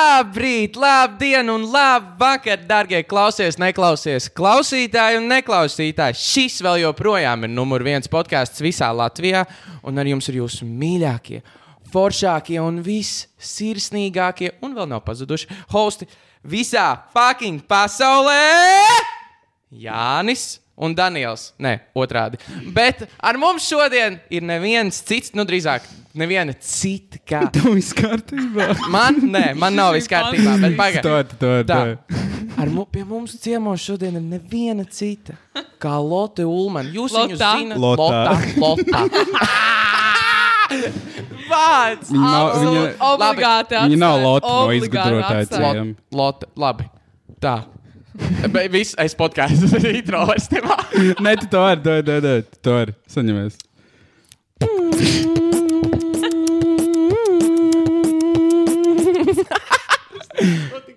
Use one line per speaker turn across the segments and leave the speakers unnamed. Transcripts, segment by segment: Labrīt, labdien un labvakar, darbie klausies, neklausies, klausītāji un neklausītāji. Šis vēl joprojām ir numur viens podkāsts visā Latvijā, un ar jums ir jūsu mīļākie, foršākie un vissirsnīgākie, un vēl nav pazuduši hosti visā fucking pasaulē! Jānis un Daniels. Nē, otrādi. Bet ar mums šodien ir neviens cits, nu drīzāk, neviena cita. Kā.
Tev viss kārtībā.
Man, nē, man nav viss kārtībā, bet pagaidi.
Tad, tad,
Tā. Ar mu, pie mums ciemos šodien ir neviena cita. Kā Lotte Ulmane. Jūs viņu
Lotā.
zināt,
Lotā.
Lotte. Vārds!
Viņa nav-
Absolūti
viņa-
obligāti
Viņa nav
atstāt,
lota no
obligāti
Lot-
atstāt.
izgudrotājiem.
Lotte, labi. Tā. Bet viss aiz podkāstu intro vairs nemā.
Nē, tu to vari, dod, dod, dod. Tu to vari. Saņemies.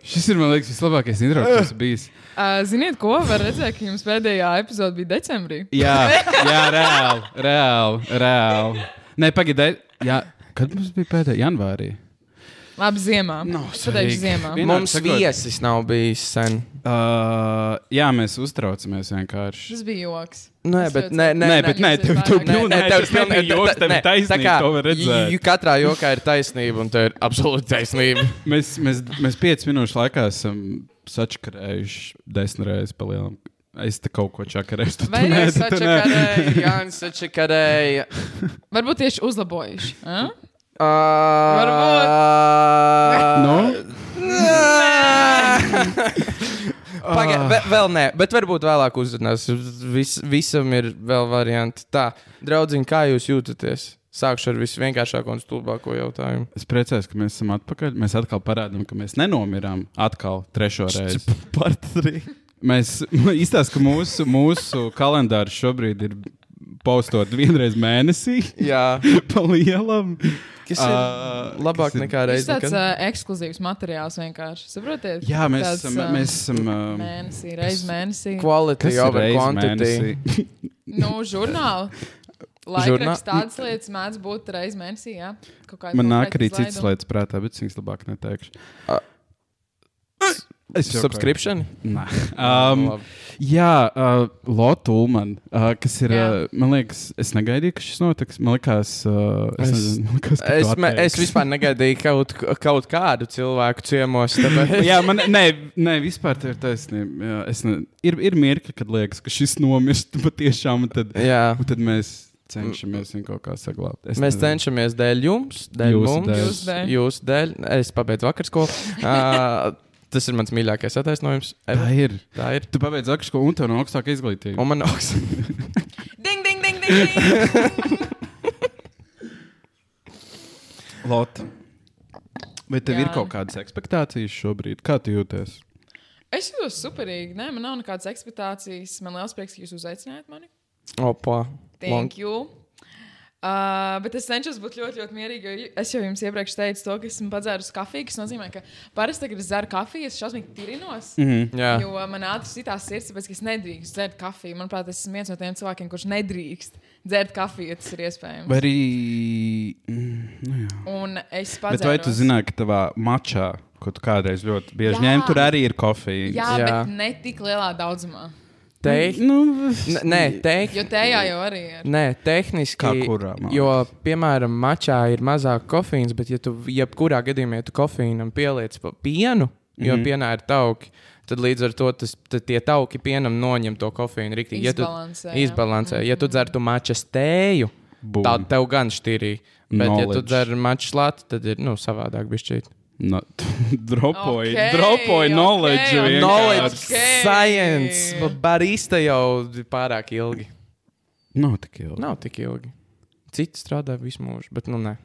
Šis ir, man liekas, vislabākais intro, kas bijis.
Ā, Ziniet, ko var redzēt, ka jums pēdējā epizode bija decembrī?
Jā, jā reāli, reāli, reāli. Nē, pagaidi. Jā, kad mums bija pēdējā janvārī?
Labi, ziemā.
Nav
Es pateikšu,
svarīgi.
ziemā.
Vien-
Mums
sakot-
viesis nav bijis sen.
Uh, jā, mēs uztraucamies vienkārši.
Tas bija joks.
Nē,
Es
bet
ļoti
nē,
ceru.
nē,
Nē, bet nē, tev
Nē,
tur
nē,
bija
nē,
tas nebija joks, tev bija taisnība. To var redzēt.
jū, katrā jokā ir taisnība, un te ir absolūti taisnība.
Mēs, mēs, mēs piecu minūšu laikā esam sačakarējuši desmit reizes pa lielam. Es te kaut ko čakarēju. tu- tu
Vai
nē,
jūs
tu- tu nē.
sačakarēji?
Jānis Čakarēja.
Varbūt tieši uzlabojuši. a?
Uh,
Nu? Ah.
Pagaidiet, vēl nē, bet varbūt vēlāk uzzinās. Vis, visam ir vēl varianti. Tā, draudziņ, kā jūs jūtaties? Sākšu ar visvienkāršāko un stulbāko jautājumu.
Es priecājos, ka mēs esam atpakaļ. Mēs atkal parādām, ka mēs nenomirām. Atkal trešo reizi.
Par trīs.
Mēs izstāstām, ka mūsu, mūsu kalendārs šobrīd ir postot vienreiz mēnesī.
Jā,
Pa lielam.
kas ir
Ā,
labāk
Ah, kas ir-
nekā
Tas
reizes?
tāds ā, ekskluzīvs materiāls vienkārši. Saprotiet?
Jā, mēs
Tāds,
esam.
ā,
Mēs esam um, ā,
Mēnesī, reiz mēnesī.
Quality
kas ir
over
reiz
quantity.
mēnesī?
Nu, žurnāli.
Žurnā-
Laikraksts tādas lietas mēdz būt reiz mēnesī, jā. Kaut kāda
Man nāk
konkrēta
arī citas
izlaiduma.
lietas prātā, bet es viņas labāk neteikšu.
A-
Es
Subscription?
Um,
Labi.
jā, uh, Lotte Ulman, uh, kas ir,
Jā.
uh, man liekas, es negaidīju, ka šis notiks. Man liekas, uh, es,
Es-
nezinu, man liekas, ka tu
Es, me, es
atteiksi.
vispār negaidīju kaut, kaut kādu cilvēku ciemos. tāpēc-
Jā, man, nē, nē, vispār tā ir taisnība. Jā, es ne, ir, ir mirkli, kad liekas, ka šis nomirst patiešām, un tad,
Jā.
un tad mēs cenšamies viņu kaut kā saglabāt. Es
Mēs
nezinu.
cenšamies dēļ jums, dēļ
Jūsu
mums,
dēļ.
Jūsu dēļ.
jūsu dēļ. Es pabeidzu vakar skolu. Uh, tas ir mans mīļākais attaisnojums.
Tā
ever.
ir.
Tā ir.
Tu pabeidz akšu, un tev no augstāka izglītība.
Un man augs.
Ding, ding, ding, ding, ding.
Lotte. Vai tev
Jā.
Jā. ir kaut kādas expectācijas šobrīd? Kā tu jūties?
Es jūtos superīgi. Nē, man nav nekādas ekspektācijas. Man liels prieks, ka jūs uzaicinājāt mani.
Opa. Long-
Thank you. Uh, bet es cenšos būt ļoti, ļoti mierīga. jo Es jau jums iepriekš teicu, to, ka esmu padzērusi kafiju. Tas nozīmē, ka parasti, kad es dzeru kafiju, es šausmīgi tirinos. Mm -hmm.
Mhm, Jā.
Jo man ātri sitās sirds, tāpēc ka es nedrīkstu dzert kafiju. Manuprāt, es esmu viens no tiem cilvēkiem, kurš nedrīkst dzert kafiju, ja tas ir iespējams.
Vai arī. Mm, nu jā.
Un es pats.
Bet vai tu zināji, ka tavā mačā, ko tu kādreiz ļoti bieži
Jā.
ņēmi, tur arī ir kofeīns?
Jā, jā,
Jā.
bet ne tik lielā daudzumā.
Tei-
Nu,
N- Nē,
Jo
teikt.
tajā jau arī ir.
Nē, tehniski.
Kā kurā, man
jo, piemēram, mačā ir mazāk kofīns, bet, ja tu jebkurā gadījumā ja tu kofīnam pieliec pa pienu, jo mm
Mhm.
-hmm. pienā ir tauki, tad līdz ar to tas, tad tie tauki pienam noņem to kofīnu. Riktīgi. Ja tu-
Izbalansē, jā.
Izbalansē. Ja tu dzertu mačas tēju,
Bum.
Tad tev gan šķirī. Bet, Knowledge. ja tu
Knowledge.
dzer maču slāni, tad ir nu, savādāk. bišķīt.
No, Nu, dropoji,
Ok,
okay, dropoji
ok,
okay, knowledge.
ok.
Knowledge,
Okay, knowledge.
Okay.
science, ba- barista jau ir pārāk ilgi.
Nav Nu, tik ilgi.
Nav tik ilgi. Citi strādā visu mūžu, bet nu nē.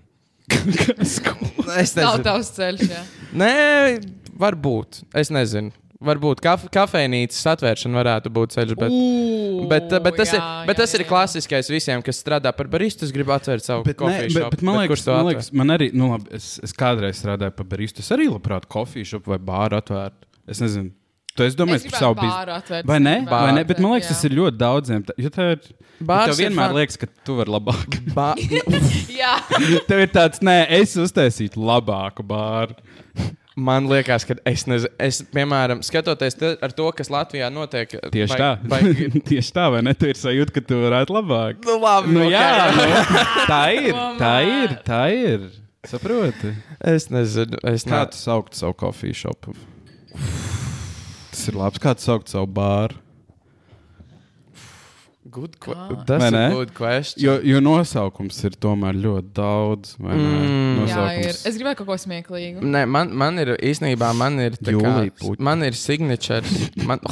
es
Tas nav
nezinu.
tavs ceļš. jā.
Nē, varbūt. Es nezinu. Varbūt kaf kafejnīcas atvēršana varētu būt ceļš. Bet...
Ū,
Bet, bet tas, jā,
jā,
ir, bet
jā,
tas jā, ir
jā.
klasiskais visiem, kas strādā par baristu. Es gribu atvērt savu
Bet, ne,
kafiju.
bet, bet man
kurš
liekas,
to
man,
atver?
liekas, man arī, nu, labi, es, es kādreiz strādāju par baristu. Es arī labprāt kofiju šopu vai bāru atvērtu. Es nezinu. Tu es domāju,
Es
es par
gribētu
savu
bāru
biznesu.
atvērt,
Vai ne?
es gribētu
Vai ne?
bāru
Bet man liekas,
atvērt,
tas
jā.
ir ļoti daudziem. tā- Jo tev ir.
Bārs
Bārs tev
ir
vienmēr
fan-
liekas, ka tu vari labāk.
Ba...
Jā.
tev ir tāds, nē, es uztaisītu labāku bāru.
Man liekas, ka es nezinu, es, piemēram, skatoties te- ar to, kas Latvijā notiek.
Tieši
vai-
tā.
vai-
Tieši tā, vai ne? Tu ir sajūta, ka tu varētu labāk.
Nu, labi,
Nu,
ok.
jā, nu, tā ir.
Domā.
Tā ir. Tā ir. Saproti?
Es nezinu, es
Kā
ne...
tu saukt savu kofiju šopu? Tas ir labs. Kā tu saukt savu bāru?
Good
Kā?
que- tas
Vai
ir
ne?
good question.
Jo, jo nosaukums ir tomēr ļoti daudz. vai ne?
Mm.
Jā, ir.
Nosaukums.
Es gribēju kaut ko smieklīgu.
Nē, man, man ir īstenībā, man ir tā kā,
Jūlija puķa.
man ir signatures. Man,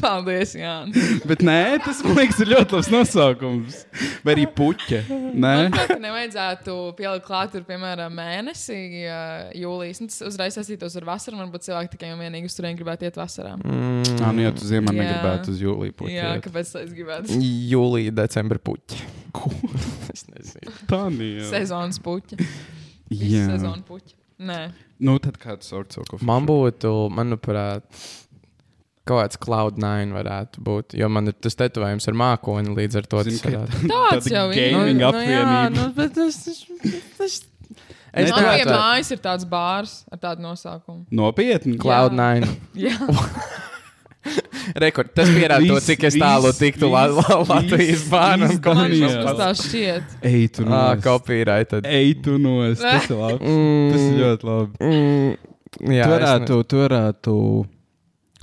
Paldies, Jā.
Bet nē, tas man liekas, ir ļoti labs nosaukums. Vai arī puķa. Nē,
Ka nevajadzētu pielikt klāt, tur, piemēram, mēnesī, ā, jūlijas. Nu, Tas uzreiz saistītos ar vasaru. Varbūt cilvēki tikai un vienīgi uz turieni gribētu iet vasarā.
Mm.
tā nu, ja tu ziemā
Jā.
negribētu uz jūliju puķi.
Jā,
iet.
kāpēc tā es gribētu?
jūlija, decembra puķi. es nezinu.
tā nē.
Sezonas puķi. Visu
Jā,
sezonu puķi. Nē,
nu tad kā tu saukt savu kofiju?
Man būtu, manuprāt, kaut kāds cloud9 varētu būt, jo man ir tas tetovējums ar mākoni līdz ar to. tas varētu-
tāds jau ir.
gaming
Nu, nu jā,
apvienība.
nu, bet tas- tas- tas- Es
Nē,
Man pie
nevaru-
mājas ir tāds bārs ar tādu nosaukumu.
Nopietni.
Cloud9.
Jā,
Rekord, tas pierāda to, cik es tālu tiktu La- La- Latvijas bērnam.
kā
man
Jā.
tas tā šķiet.
Ej, tu
Ah,
nos.
copyrighted.
Ej, tu nos. Tas ir labi. Tas ir ļoti labi.
Mm, jā, es
Tu varētu, tu varētu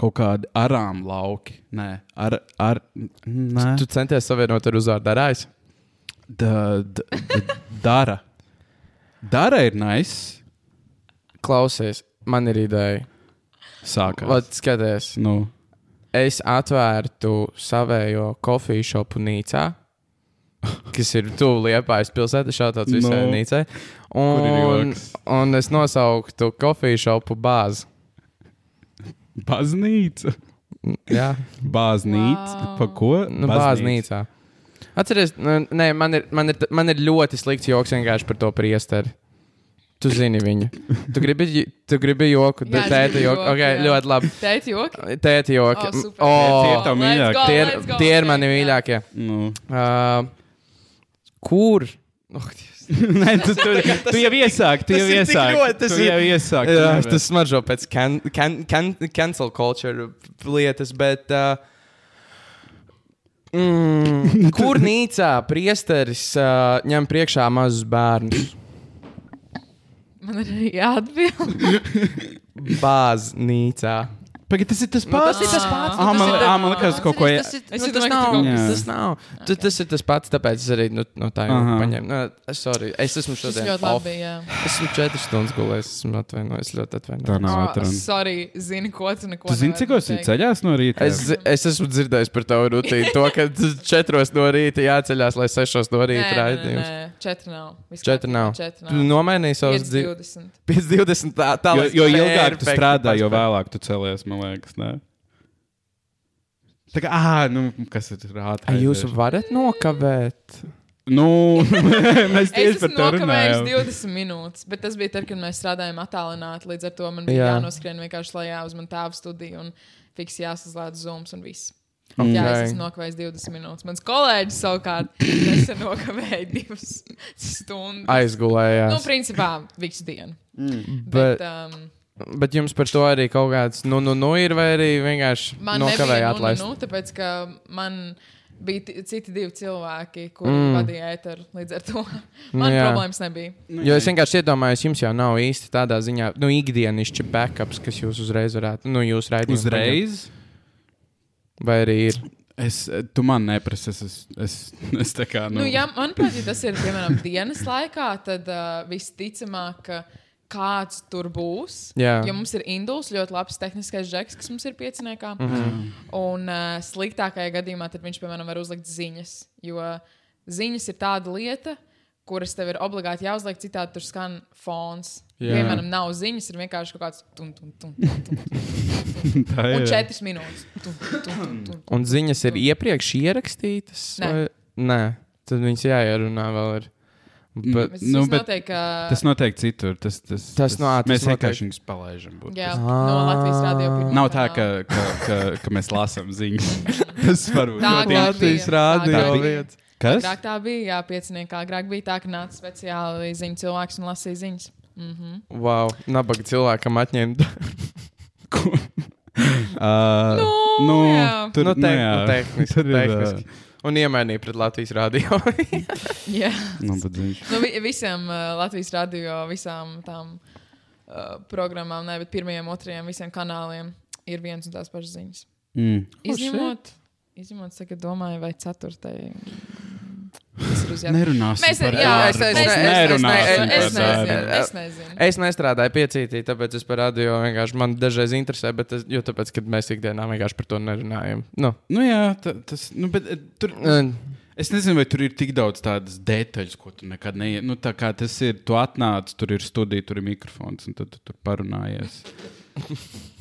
kaut kādi arām lauki. Nē, ar, ar, nē.
ne- Tu centies savienot ar uzvārdu darājus.
Da, da, da, dara. Dara ir nice.
Klausies, man ir ideja.
Sākās.
Vat, skaties,
Nu,
es atvērtu savējo kofiju šopu Nīcā, kas ir tuvu Liepājas pilsētai, šāds
Nu,
visai Nīcai.
ir
Un,
joks?
un es nosauktu kofiju šopu bāzi.
baznīca.
Jā.
Baznīca.
Wow.
Wow. Pa ko?
Nu, baznīcā. Atceries, nu, nē, man ir, man, ir, man ir ļoti slikts joks vienkārši par to priesteri. Tu zini viņu. Tu gribi, j- tu gribi joku,
Jā,
bet
es
tēta
gribu
joku.
joku,
Ok,
jā.
ļoti labi.
Teici, joki.
Tēta joki.
O, super.
Tie
Oh,
ir tavi
Let's go,
mīļākie.
tie, ir,
let's go.
tie ir mani mīļākie.
Nu.
Uh, kur? Oh,
Nē, tu, tu, tu jau iesāki. Tu
tas
jau
ir tik
iesāki.
ļoti- tas
Tu
ir-
jau iesāki. tu
Jā,
nevari.
tas smaržo pēc can, can, can, cancel culture lietas, bet. Uh, Mm, kur nīcā priesteris uh, ņem priekšā mazus bērnus?
Man ir arī jāatbild.
Bāznīcā.
Pagaid, tas ir tas pats.
ir tas pats, nu,
Ah,
tas
man,
ir-
ah, man liekas, kaut ko.
Tas ir
Es
nu,
domāju,
tas
ka
nav.
tu kaut
kas-
Tas nav. Tu, tas ir tas pats, tāpēc es arī nu, no tā jau
Aha.
paņēmu. Nu, es- sorry, es esmu
Tas
šodien.
ļoti
off.
labi. Jā.
Esmu četras stundas gulējis. Esmu atvainojis. Ļoti atvainojos.
nav
O, Sorry, zini, ko tu neko.
Tu zini,
nevari
cik es
pateikt.
esmu ceļās no rīta?
Es, zi- es esmu dzirdējis par tavu rutīnu. To, ka tu četros no rīta jāceļās, lai sešos no
Nē,
rīta
nē, nē,
raidījums.
nē, Četri nav. Viss
Četri
kārtībā,
nav.
Četri
Tu
nav.
nomainīji savus
Pieci
dzīves.
20.
520. Tā, tā
Jo,
lai
jo ilgāk tu
perfekti
strādā, jo
paspēj.
vēlāk tu celies, man liekas. Ne? Tā kā, ah, nu, kas ir rāta?
Ai, Jūs varat nokavēt.
Nu, mēs
Es
tieši
esmu
par to
nokavējis
runājām.
20 minūtes, bet tas bija tad, kad mēs strādājām attālināti. Līdz ar to man bija
Jā.
jānoskrien vienkārši lejā uz manu tēva studiju un fiks jāsazlādz zooms un viss.
Ok.
Jā, es esmu nokavējis 20 minūtes. Mans kolēģis savukārt nesen nokavēja 2 stundas. Nu,
Aizgulējās.
principā visu dienu. Bet,
Bet,
um,
bet jums par to arī kaut kāds, nu, nu, nu ir, vai arī vienkārši
man nebija
nokavējāt atlaist.
atlaist. Nu, nu, tāpēc, ka man bija ti- citi divi cilvēki, kuri mm. vadīja ēteru. Līdz ar to man
Nu jā.
problēmas nebija.
Nu,
Jo es vienkārši iedomājos, jums jau nav īsti tādā ziņā, nu, ikdienišķi backups, kas jūs uzreiz varētu, nu, jūs raidījumā.
Uzreiz.
Vai arī ir.
Es, eh, tu man neprasi, es, es, es, es tā kā. Nu,
Nu, ja, manuprāt, ja tas ir piemēram dienas laikā, tad uh, visticamāk, ka kāds tur būs.
Jā.
Jo mums ir induls, ļoti labs tehniskais žeks, kas mums ir pieciniekā. Mm
Mhm.
-hmm.
Mhm.
Un uh, sliktākajā gadījumā tad viņš, piemēram, var uzlikt ziņas. Jo ziņas ir tāda lieta, kuras tev ir obligāti jāuzliek, citādi tur skan
Jā.
fons. Jā. Piemēram, nav ziņas, ir vienkārši kaut kāds tum, tum, tum, tum, tum.
tā
un
ir.
četras minūtes. Tum, tum, tum, tum.
Un ziņas ir iepriekš ierakstītas?
Nē.
vai- Nē, tad viņas jāierunā vēl. Ir. Bet,
Bet,
Nu,
nu,
bet
noteikti, ka...
Tas notiek citur. Tas, tas,
Tas nā, tas
mēs
notiek.
vienkārši viņus palaidām.
Jā, no
Ah.
Latvijas radio. pirmā
Nav tā,
kanāla.
ka, ka, ka, ka mēs lasām ziņas. tas var būt
Tā
notiek.
Latvijas
Latvijas
rādio
Tā bija.
vieta.
Kas?
Agrāk tā bija, jā, pieciniekā. Agrāk bija tā, ka nāca speciāli ziņu cilvēks un lasīja ziņas. Mhm.
Wow, nabaga cilvēkam atņemt.
Ko? Ā,
Nu,
nu,
jā.
tur
nu,
nu, jā.
tehn- nu, tehniski.
Tur ir, ā,
tehniski. Un iemainīja pret Latvijas rādio.
Jā.
Nu, bet viņš
Nu, vi visiem uh, Latvijas radio, visām tām uh, programmām, ne, bet pirmajiem, otrajiem, visiem kanāliem ir viens un tās pašas ziņas.
Mm.
Izņemot, izņemot tagad domāju, vai ceturtajai. mm, Tas ir uz jādara.
Nerunāsim
Mēs
par
jā,
ārpus
es, es, es,
puses.
es,
Nerunāsim
es, es,
par
nezinu,
darbu.
es nezinu.
es nestrādāju piecītī, tāpēc es par radio vienkārši man dažreiz interesē, bet es, jo tāpēc, ka mēs ikdienā vienkārši par to nerunājam. Nu,
Nu, jā, ta, tas, nu, bet, eh, tur,
un-
es nezinu, vai tur ir tik daudz tādas detaļas, ko tu nekad neiet. Nu, tā kā tas ir, tu atnāc, tur ir studija, tur ir mikrofons, un tad tu tur parunājies.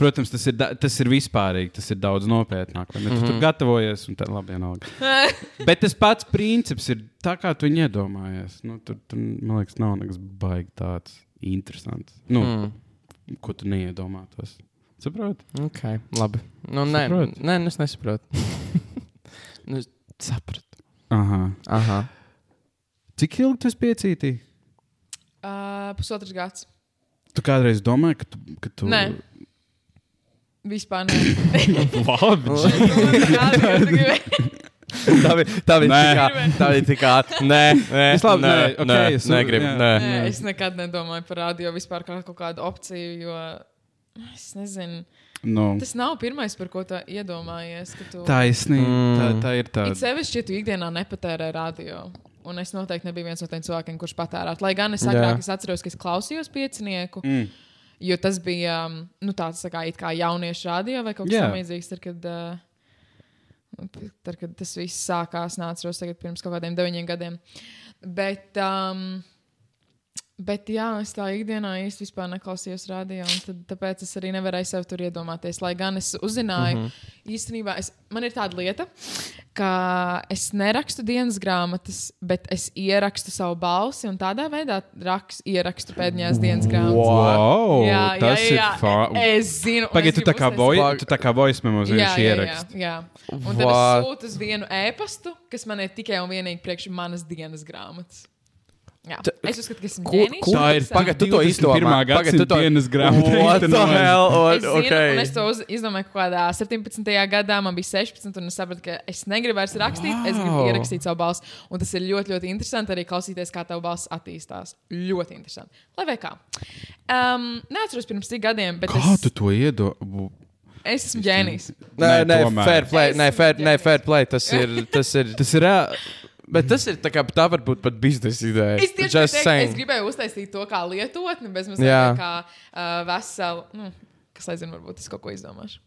Protams, tas ir, da- tas ir vispārīgi, tas ir daudz nopietnāk. vai Ne? Tu mm -hmm. tur gatavojies, un tā labi vienalga. Bet tas pats princips ir tā, kā tu viņu iedomājies. Nu, tur, tur, man liekas, nav nekas baigi tāds interesants, nu,
Mm.
mm. ko tu neiedomātos. Saproti?
Okay, labi. Nu, nē,
Saproti?
nē, nu es nesaprotu. nu, es sapratu.
Aha.
Aha.
Cik ilgi tas piecītīja?
Uh, pusotrs gads.
Tu kādreiz domāji, ka tu. Ka tu...
Nē. Vispār nē.
labi.
Tā bija tā
Nē.
līnija. Tā bija tā kā. Nē, nē,
Es labi, nē, ok,
nē,
es
nē,
saprotu,
gribu.
jā.
Nē.
Nē, es nekad nedomāju par radio vispār kā kaut kādu opciju, jo es nezinu.
nu,
Tas nav pirmais, par ko tu iedomājies. ka Tu...
taisnība.
Mm.
Mm. Tā, tā ir
It
tāda.
sevišķi, ja tu ikdienā nepatērē radio. Un es noteikti nebiju viens no tiem cilvēkiem, kurš patērētu. Lai gan es
Jā.
agrāk es atceros, ka es klausījos piecinieku,
Mm.
jo tas bija um, nu, tāds tā kā, it kā jauniešu radio vai kaut kas
Jā.
tamlīdzīgs. Tad, kad, uh, tad, kad tas viss sākās, nācās tagad pirms kaut kādiem deviņiem gadiem. Bet, um, bet jā, es tā ikdienā īsti vispār neklausījos radio, un tad, tāpēc es arī nevarēju sev tur iedomāties. Lai gan es uzzināju, mm -hmm. īstenībā es, man ir tāda lieta, ka es nerakstu dienas grāmatas, bet es ierakstu savu balsi un tādā veidā rakstu, ierakstu pēdējās dienas grāmatas.
Wow,
Jā,
tas
jā, jā,
ir fāni.
Es zinu, un es
Pagaidiet, tu tā
gribu
kā
uztaisīt.
voice, tu tā kā voice memo
Jā,
vienkārši
jā, jā,
ieraksti.
jā. Un tad
Vā.
es sūtu uz vienu ēpastu, kas man ir tikai un vienīgi priekš manas dienas grāmatas. Jā.
Ta-
Es uzskatu, ka esmu
Ko-
ģēnijs.
ko-
Tā ir
Es-
Pagad, tu to
21.
izdomā. Pagad, tu to
gadsimta dienas grāmata
What the
īstenojas.
hell? O,
Es, zinu,
okay.
un es to uz, izdomāju kaut kādā 17. gadā, man bija 16, un es sapratu, ka es negribu vairs rakstīt, wow. es gribu
Wow.
ierakstīt savu balsi. Un tas ir ļoti, ļoti interesanti arī klausīties, kā tavs balss attīstās. Ļoti interesanti. Lai vai kā. Um, neatceros pirms cik gadiem, bet
Kā
es,
tu to iedomājies?
es esmu ģēnijs.
Nē, nē,
tomēr.
fair play. Nē,
Esmu
fair, nē,
ģēnijs.
fair play. Tas ir. Tas ir
Tas ir. ā,
bet tas ir tā kā tā var būt pat biznesa ideja.
Es tieši
Just
teicu,
saying.
es gribēju uztaisīt to kā lietotni, bez
Jā.
mazliet tā kā uh, veselu. Nu, kas lai zina, varbūt es kaut ko izdomāšu.
Ā,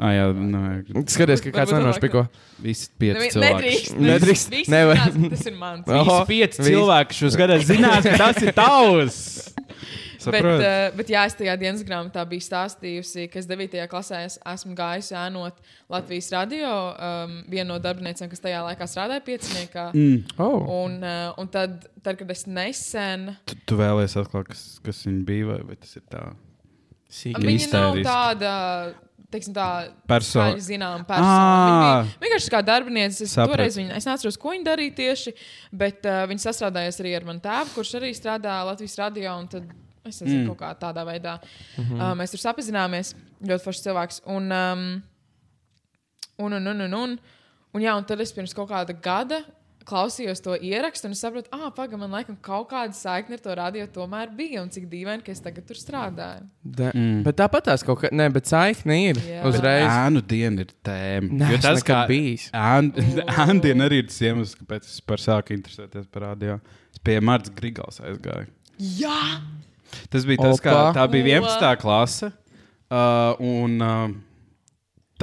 Ah, jā, nē,
Skaties, ka kāds
Varbūt
nenošpiko.
visi pieci
Nevi-
cilvēki.
Nu, Nedrīkst.
Nedrīkst,
Visi
nevar. Oh,
zinās, ka Tas ir mans.
Oho, visi.
šos gados zinās, ka tas ir tavs.
Bet,
Saprot?
uh, bet jā, es tajā dienas grāmatā biju stāstījusi, ka es 9. klasē es esmu gājusi ēnot Latvijas radio um, vienu no darbiniekiem, kas tajā laikā strādāja pieciniekā. Mm.
Oh.
Un, uh, un tad, tad, kad es nesen
Tu, tu vēlējies atklāt, kas, kas viņa bija, vai, vai tas ir tā?
Sīki.
Am-
Viņa
īstā
nav
riska.
tāda, teiksim, tā
Perso-
skaļi zināma
Ā!
persona. Viņa bija Vienkārši kā darbinieca. Es
Sapratu.
toreiz viņu, es neatceros, ko viņa darīja tieši, bet uh, viņa sastrādājās arī ar manu tēvu, kurš arī strādā Latvijas radio. un tad Es nezinu, mm. kaut kā tādā veidā. Mm
Mhm.
-hmm. uh, mēs tur sapzināmies. Ļoti foršs cilvēks. Un, um, un, un, un, un, un, un, jā, un tad es pirms kaut kāda gada klausījos to ierakstu un es sapratu, ah, pagaidi, man laikam kaut kāda saikne ar to radio tomēr bija. Un cik dīvaini, ka es tagad tur strādāju.
Da, mm. Bet tāpat tās kaut kā. Nē, bet saikne ir.
Jā.
Uzreiz.
Ēnu diena ir tēma.
Nē,
Jo
es
tas,
nekad
kā
bijis.
Ēnu diena arī ir tas iemesls, kāpēc es par sāku interesēties par radio. Es pie Marta Grigals aizgāju.
Jā!
Tas bija tas, kā,
Opa.
tā bija
Ko?
11. klase. Uh, un uh,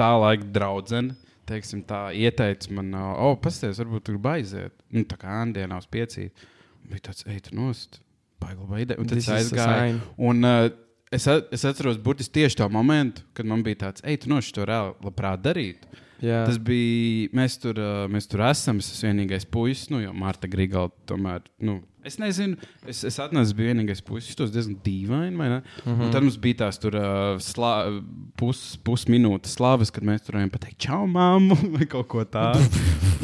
tā laika draudzene. Teiksim, tā ieteica man, uh, oh, paskatieties, varbūt tur baiziet. Nu, tā kā Andienā uz piecīt. Bija tāds, ej, tu nost. Baigla ideja. Un tad
This
es
is a sign.
aizgāju. Un, uh, es, at, es atceros burtiski tieši to momentu, kad man bija tāds, ej, tu nost, to reāli labprāt darītu.
Jā.
Tas eh, bija. Mēs tur, uh, mēs tur esam. Es esmu vienīgais puisis, nu, jo Marta Grigala tomēr. Nu, Es nezinu, es, es atnesu, bija vienīgais puses, tas diezgan dīvaini. vai ne? Un Tad mums bija tās tur uh, slā, pus, pusminūtes slāves, kad mēs turējām pateikt, čau, māmu, vai kaut ko tādu.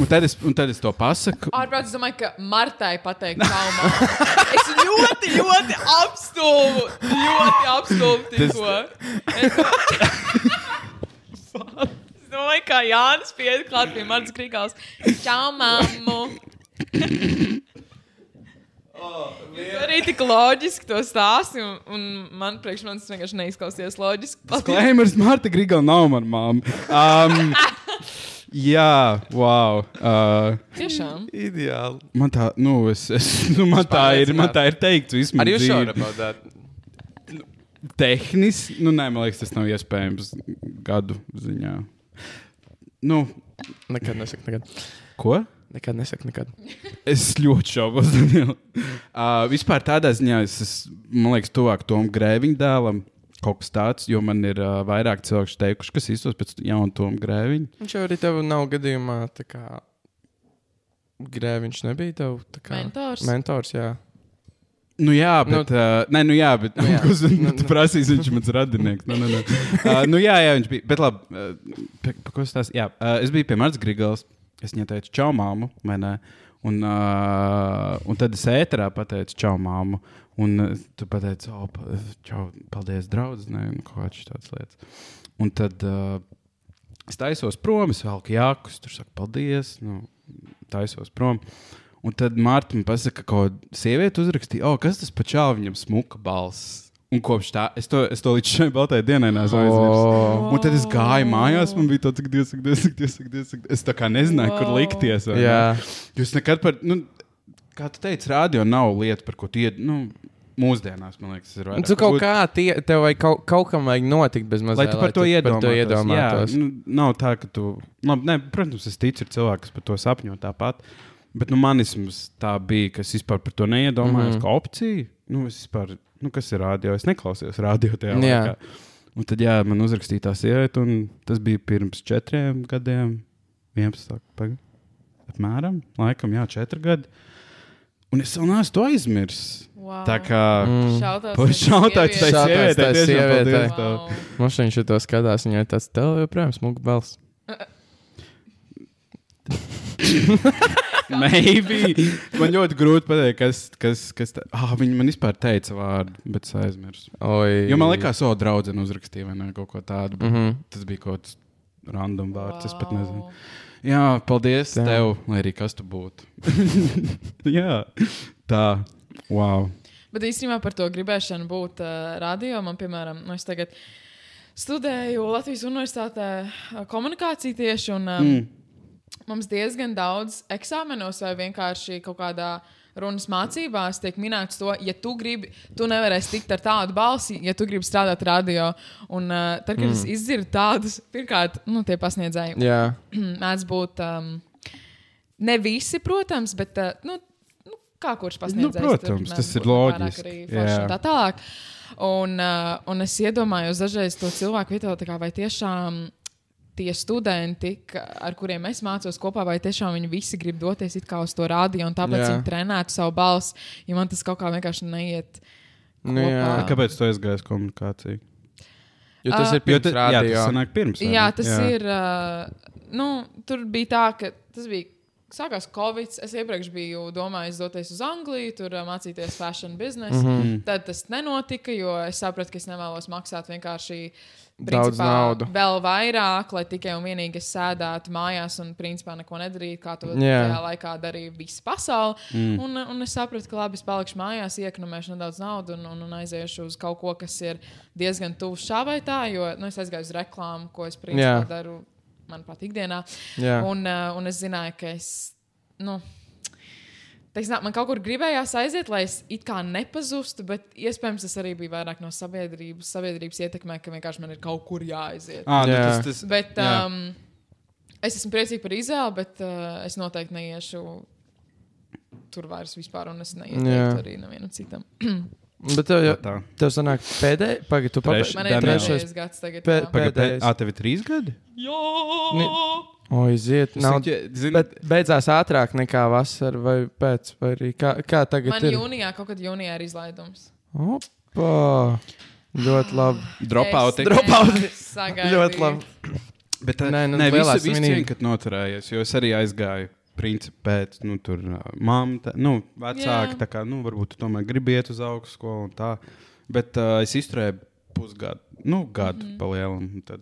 un, tad es- un tad es to pasaku.
Ārprāt, es domāju, ka Martai pateikt, kā man. Es ļoti, ļoti apstulbu. Ļoti apstulbu tikko. Es domāju, kā Jānis pieiet klāt pie manas krikals. Čau, mammu!
Oh,
Jūs arī tik loģiski to stāstījāt, un, un man priekš manis vienkārši neizklausījās loģiski. Paldies.
Disclaimers, Marta Grigala nav mana māma. Um, jā, wow. Uh,
Tiešām.
Ideāli.
man tā, nu, es, es, nu, man tā ir, man tā ir teikts vismaz.
Arī jūs
dzīve.
šādi paudāt.
tehniski, nu, nē, man liekas, tas nav iespējams gadu ziņā. Nu,
Nekad nesaka, nekad.
ko?
Nekad nesaka, nekad.
Es ļoti šaubos, Daniel. Uh, vispār tādā ziņā es, es man liekas, tuvāk tam grēviņu dēlam. Kaut kas tāds, jo man ir uh, vairāk cilvēku teikuši, kas īstos pēc jaunu tomu grēviņu.
Viņš jau arī tev nav gadījumā, tā kā grēviņš nebija tev. tā Kā,
Mentors?
Mentors, jā.
Nu jā, bet. Nu, uh, nē, nu jā, bet.
Nu
Nu
jā.
jā. Kurš
Nu,
nu,
nu.
tu prasīs, viņš ir mans radinieks. Nu, nu, nu. Uh, nu jā, jā, viņš bija. Bet labi, uh, pa, pa, ko es tās. Jā, uh, es biju pie Marta Grigals. Es viņai teicu, čau, māmu, vai ne? Un, uh, un tad es ēterā pateicu, čau, māmu. Un uh, tu pateici, oh, pa, čau, paldies, draugs. Nē, nu, kaut kādas tādas lietas. Un tad. Uh, Es taisos prom, es velku jākus, tur saku, paldies. Nu, taisos prom. Un tad Mārta man pasaka, ka sieviete uzrakstīja, oh, kas tas pa čālu viņam smuka balss. Un kopš tā, es to, es to līdz šai baltajai dienai neesmu aizmirsis.
Oh.
Un tad es gāju mājās, man bija tāds, ka Dievs, saka, Dievs, saka, Dievs, saka, Dievs, saka. es tā kā nezināju, kur
Wow.
likties. vai ne?
Jā.
Jūs nekad par, nu, kā tu teici, rādio nav lieta, par ko tie, nu, mūsdienās, man liekas, ir
Un
vairāk.
Nu, Tu kaut
Būt-
kā tie, tev vai kaut, kaut kam vajag notikt bez mazliet.
Lai tu par to
Par
iedomātos.
to iedomātos.
Jā, nu, nav tā, ka tu. Labi, ne, protams, es ticu, ir cilvēki, kas par to sapņo tāpat. Bet nu, manis vismaz tā bija, ka es vispār par to neiedomājos, mm -hmm. kā opciju. Nu, es vispār, nu, kas ir rādio? Es neklausījos radio
Jā.
tajā laikā. Un tad, jā, man uzrakstīja tā sieviete, un tas bija pirms četriem gadiem, 11. Pag... apmēram, laikam, jā, četri gadi. Un es vēl neesmu to aizmirsis.
Wow.
Tā kā. Mm.
Šautauts
Par
tai
šautauts tai
Šautauts
sievietei.
tai
tiešām
sievietei.
paldies tev.
Wow.
Mums viņš to skatās, viņai tas tev joprojām smūgi balss.
Maybe. Man ļoti grūti pateikt, kas, kas, kas tā... ah, viņa man vispār teica vārdu, bet es aizmirsu.
Oi.
Jo man liekas, o, draudzene uzrakstīja vai ne, kaut ko tādu.
mm
Mm.
-hmm.
Tas bija kaut kāds random vārds, es pat nezinu. Jā, paldies
Tā.
tā. tev, lai arī kas tu būtu. Jā, tā. Wow.
Bet īstenībā par to gribēšanu būt uh, radio. Man, piemēram, nu, es tagad studēju Latvijas Universitātē ā, komunikāciju tieši. Un, um,
Mm.
Mums diezgan daudz eksāmenos vai vienkārši kaut kādā runas mācībās tiek minēts, to, ja tu gribi, tu nevarēsi tikt ar tādu balsi, ja tu gribi strādāt radio. Un, uh, tad, kad mm. es izdzirdu tādus, pirmkārt, nu, tie pasniedzēji,
Jā.
mēdz būt. Um, ne visi, protams, bet uh, nu, nu, kā kurš pasniedzējis?
Nu, protams,
tur,
tas
mēdz
ir
būt vairāk
loģiski,
arī forši
jā.
un Tā tālāk. Un, uh, un es iedomājos dažreiz to cilvēku vietā, tā kā, vai tiešām. Tie studenti, ka- ar kuriem es mācos kopā, vai tiešām viņi visi grib doties it kā uz to rādio, un tāpēc
Jā.
viņi trenētu savu balsi, jo man tas kaut kā vienkārši neiet.
Nu, jā.
Kopā.
Kāpēc tu aizgājies komunikācijā?
Jo tas
Ā.
ir pirms
tad- jā, tas
rādījuma.
sanāk pirms. vai ne?
Jā, tas jā. ir. Uh, nu, tur bija tā, ka tas bija. Sākās Covid. Es iepriekš biju domājis doties uz Angliju, tur uh, mācīties fashion business. Mm -hmm. Tad tas nenotika, jo es sapratu, ka es nevēlos maksāt vienkārši
Daudz
principā,
naudu.
Vēl vairāk, lai tikai un vienīgi es sēdētu mājās un principā neko nedarītu, kā to
Jā.
tajā laikā darīja visa pasaule. Mm. Un, uh, un es sapratu, ka labi, es palikšu mājās, iekonomēšu nedaudz naudu un, un, un aiziešu uz kaut ko, kas ir diezgan tuvu šā vai tā, jo nu, es aizgāju uz reklāmu, ko es principā
Jā.
daru. Man patīk ikdienā.
Jā.
Un, uh, un es zināju, ka es. Nu, Teiks, nā, man kaut kur gribējās aiziet, lai es it kā nepazustu, bet iespējams tas arī bija vairāk no sabiedrības, sabiedrības ietekmē, ka vienkārši man ir kaut kur jāaiziet.
Ā, nu,
Jā.
tas, tas,
Bet,
jā.
um, es esmu priecīgs par izvēli, bet uh, es noteikti neiešu tur vairs vispār, un es neieteiktu
Jā.
arī nevienam citam.
Bet tev jau
Tā.
tev sanāk pēdējā, pagaidi, tu
Treš-
pagaidi.
Man ir
Daniels.
trešais gads tagad.
Pē-
jā.
pē-
Pagaidā,
Pēdējais.
ā, tev ir trīs gadi?
Ne- O, iziet, nav.
Zini,
Bet beidzās ātrāk nekā vasarā vai pēc, vai arī kā, kā tagad
Man
ir.
jūnijā, kaut kad jūnijā ir izlaidums.
Opa! Ļoti labi.
dropout.
Es
Dropout.
nevaru sagaidīt.
Ļoti labi.
Bet tā
Nē,
nē,
nu,
nu, nē
lielā
visi, visi
svinība.
vien, kad noturējies, jo es arī aizgāju. Principā pēc nu, tam, māmiņa, nu, vecāka,
Jā.
tā kā, nu, varbūt tu tomēr gribi iet uz augšu skolu un tā. Bet uh, es izturēju pusgadu, nu, gadu
Mhm.
mm -hmm. pa lielu. un Tad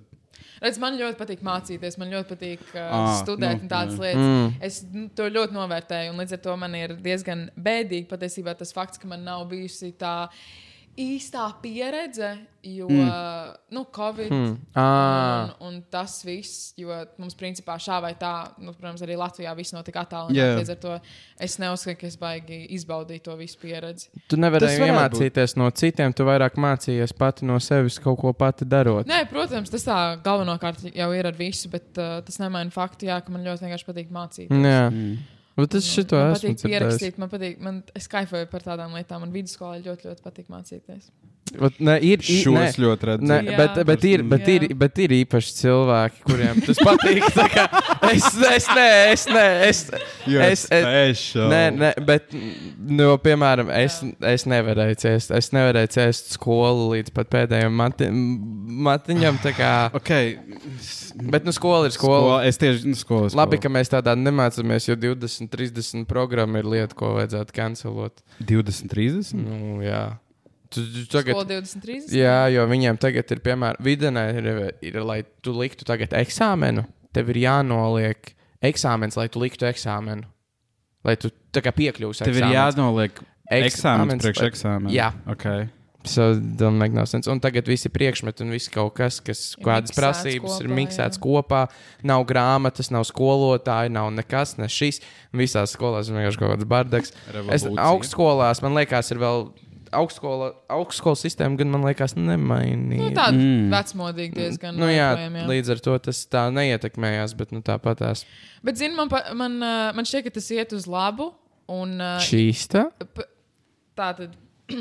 Redz, man ļoti patīk mācīties, man ļoti patīk uh,
Ā,
studēt
nu,
nu, tādas
jā.
lietas. Mm. Es nu, to ļoti novērtēju, un līdz ar to man ir diezgan bēdīgi patiesībā tas fakts, ka man nav bijusi tā īstā pieredze, jo mm. nu, Covid. Mm. Un,
Ā,
un tas viss, jo mums principā šā vai tā, nu, protams, arī Latvijā viss notika tālu.
Jā.
Līdz ar to es neuzskatu, ka es baigi izbaudīju to visu pieredzi.
tu nevarēji
Tas varētu
iemācīties no citiem, tu vairāk mācījies pati no sevis kaut ko pati darot.
Nē, protams, tas tā galvenokārt jau ir ar visu, bet uh, tas nemaina faktu, jā, ka man ļoti vienkārši patīk mācīt.
Jā, bet es šito
Man
esmu
patīk
dzirdējis.
pierakstīt, man patīk, man es kaifoju par tādām lietām. Man vidusskolā ļoti, ļoti patīk mācīties.
Vat, Nē, ir i-
šo
nē.
es ļoti redzu.
Nē,
Jā.
bet, bet, ir, bet, ir,
Jā.
bet ir īpaši cilvēki, kuriem tas patīk. tā kā Es, es nē, es nē, es.
Jo
es, es
special.
nē, nē, bet, nu, piemēram, es, es nevarēju ciest. Es nevarēju ciest skolu līdz pat pēdējiem mati, matiņam. tā Kā,
Okay.
bet, nu, skola ir skola.
Skola, es tieši nu, skolas.
Labi, ka mēs tādā nemācāmies, jo 20, 30 programma ir lieta, ko vajadzētu kancelot.
20, 30.
Nu, jā. Tu, tu tagad
Tagad... Skola 23.
Jā, jo viņiem tagad ir, piemēram, vidienē, ir, ir, lai tu liktu tagad eksāmenu, tev ir jānoliek eksāmens, lai tu liktu eksāmenu. Lai tu tā kā piekļūsi.
Tev ir
eksāmens.
jānoliek eksāmens,
Eksāmens,
priekš
lai-
eksāmena.
Jā.
Okay.
So, don't make no sense. Un tagad visi priekšmeti un viss kaut kas, kas
Ir
kādas
miksēts
prasības kopā, ir
kopā,
miksēts
jā.
kopā. Nav grāmatas, nav skolotāja, nav nekas, ne šis. Visās skolās ir vienkārši kaut kāds bardaks. Es
Revolūcija.
augstskolās, man liekas, ir vēl augstskola, augstskola sistēma, gan man liekas, nemainīja.
Nu, tāda mm.
Mm.
vecmodīga diezgan.
Nu, jā,
joprojām,
jā. Līdz ar to tas tā neietekmējās, bet nu, tāpat tās
Bet, zini, man, pa- man, uh, man šķiet, ka tas iet uz labu. Un, uh,
čīsta.
P- Tā tad.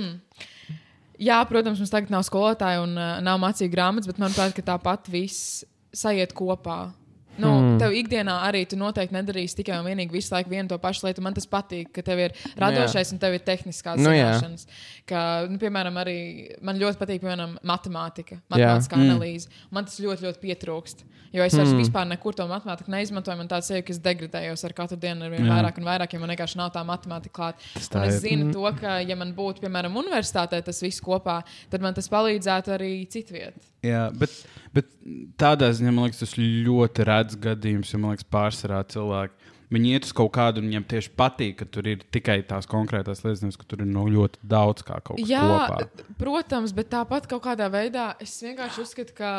Jā, protams, mums tagad nav skolotāja un uh, nav mācību grāmatas, bet manuprāt, ka tāpat viss sajiet kopā. Nu, hmm.
Mm.
Tev ikdienā arī tu noteikti nedarīsi tikai un vienīgi visu laiku vienu to pašu lietu. Man tas patīk, ka tev ir radošais un tev ir tehniskās
Nu, jā.
zināšanas. Ka, nu, piemēram, arī man ļoti patīk piemēram, matemātika,
Jā.
matemātiskā analīze. Man tas ļoti, ļoti pietrūkst. Jo es
Mm.
vairs vispār nekur to matemātiku neizmantoju. Man tāds sevi, ka es degradējos ar katru dienu, ar vien vairāk un vairāk, jo man vienkārši nav tā matemātika klāta.
Tas tā
Un es
ir. Mm.
zinu to, ka, ja man būtu, piemēram, universitātē tas viss kopā, tad man tas palīdzētu arī citviet.
Jā, bet, bet tādā ziņā man liekas, tas ļoti rēts gadījums, jo man liekas, pārsvarā cilvēki. Viņi iet uz kaut kādu, un viņiem tieši patīk, ka tur ir tikai tās konkrētās lietas, nevis ka tur ir no ļoti daudz kā kaut kas
Jā,
kopā.
protams, bet tāpat kaut kādā veidā es vienkārši uzskatu, ka,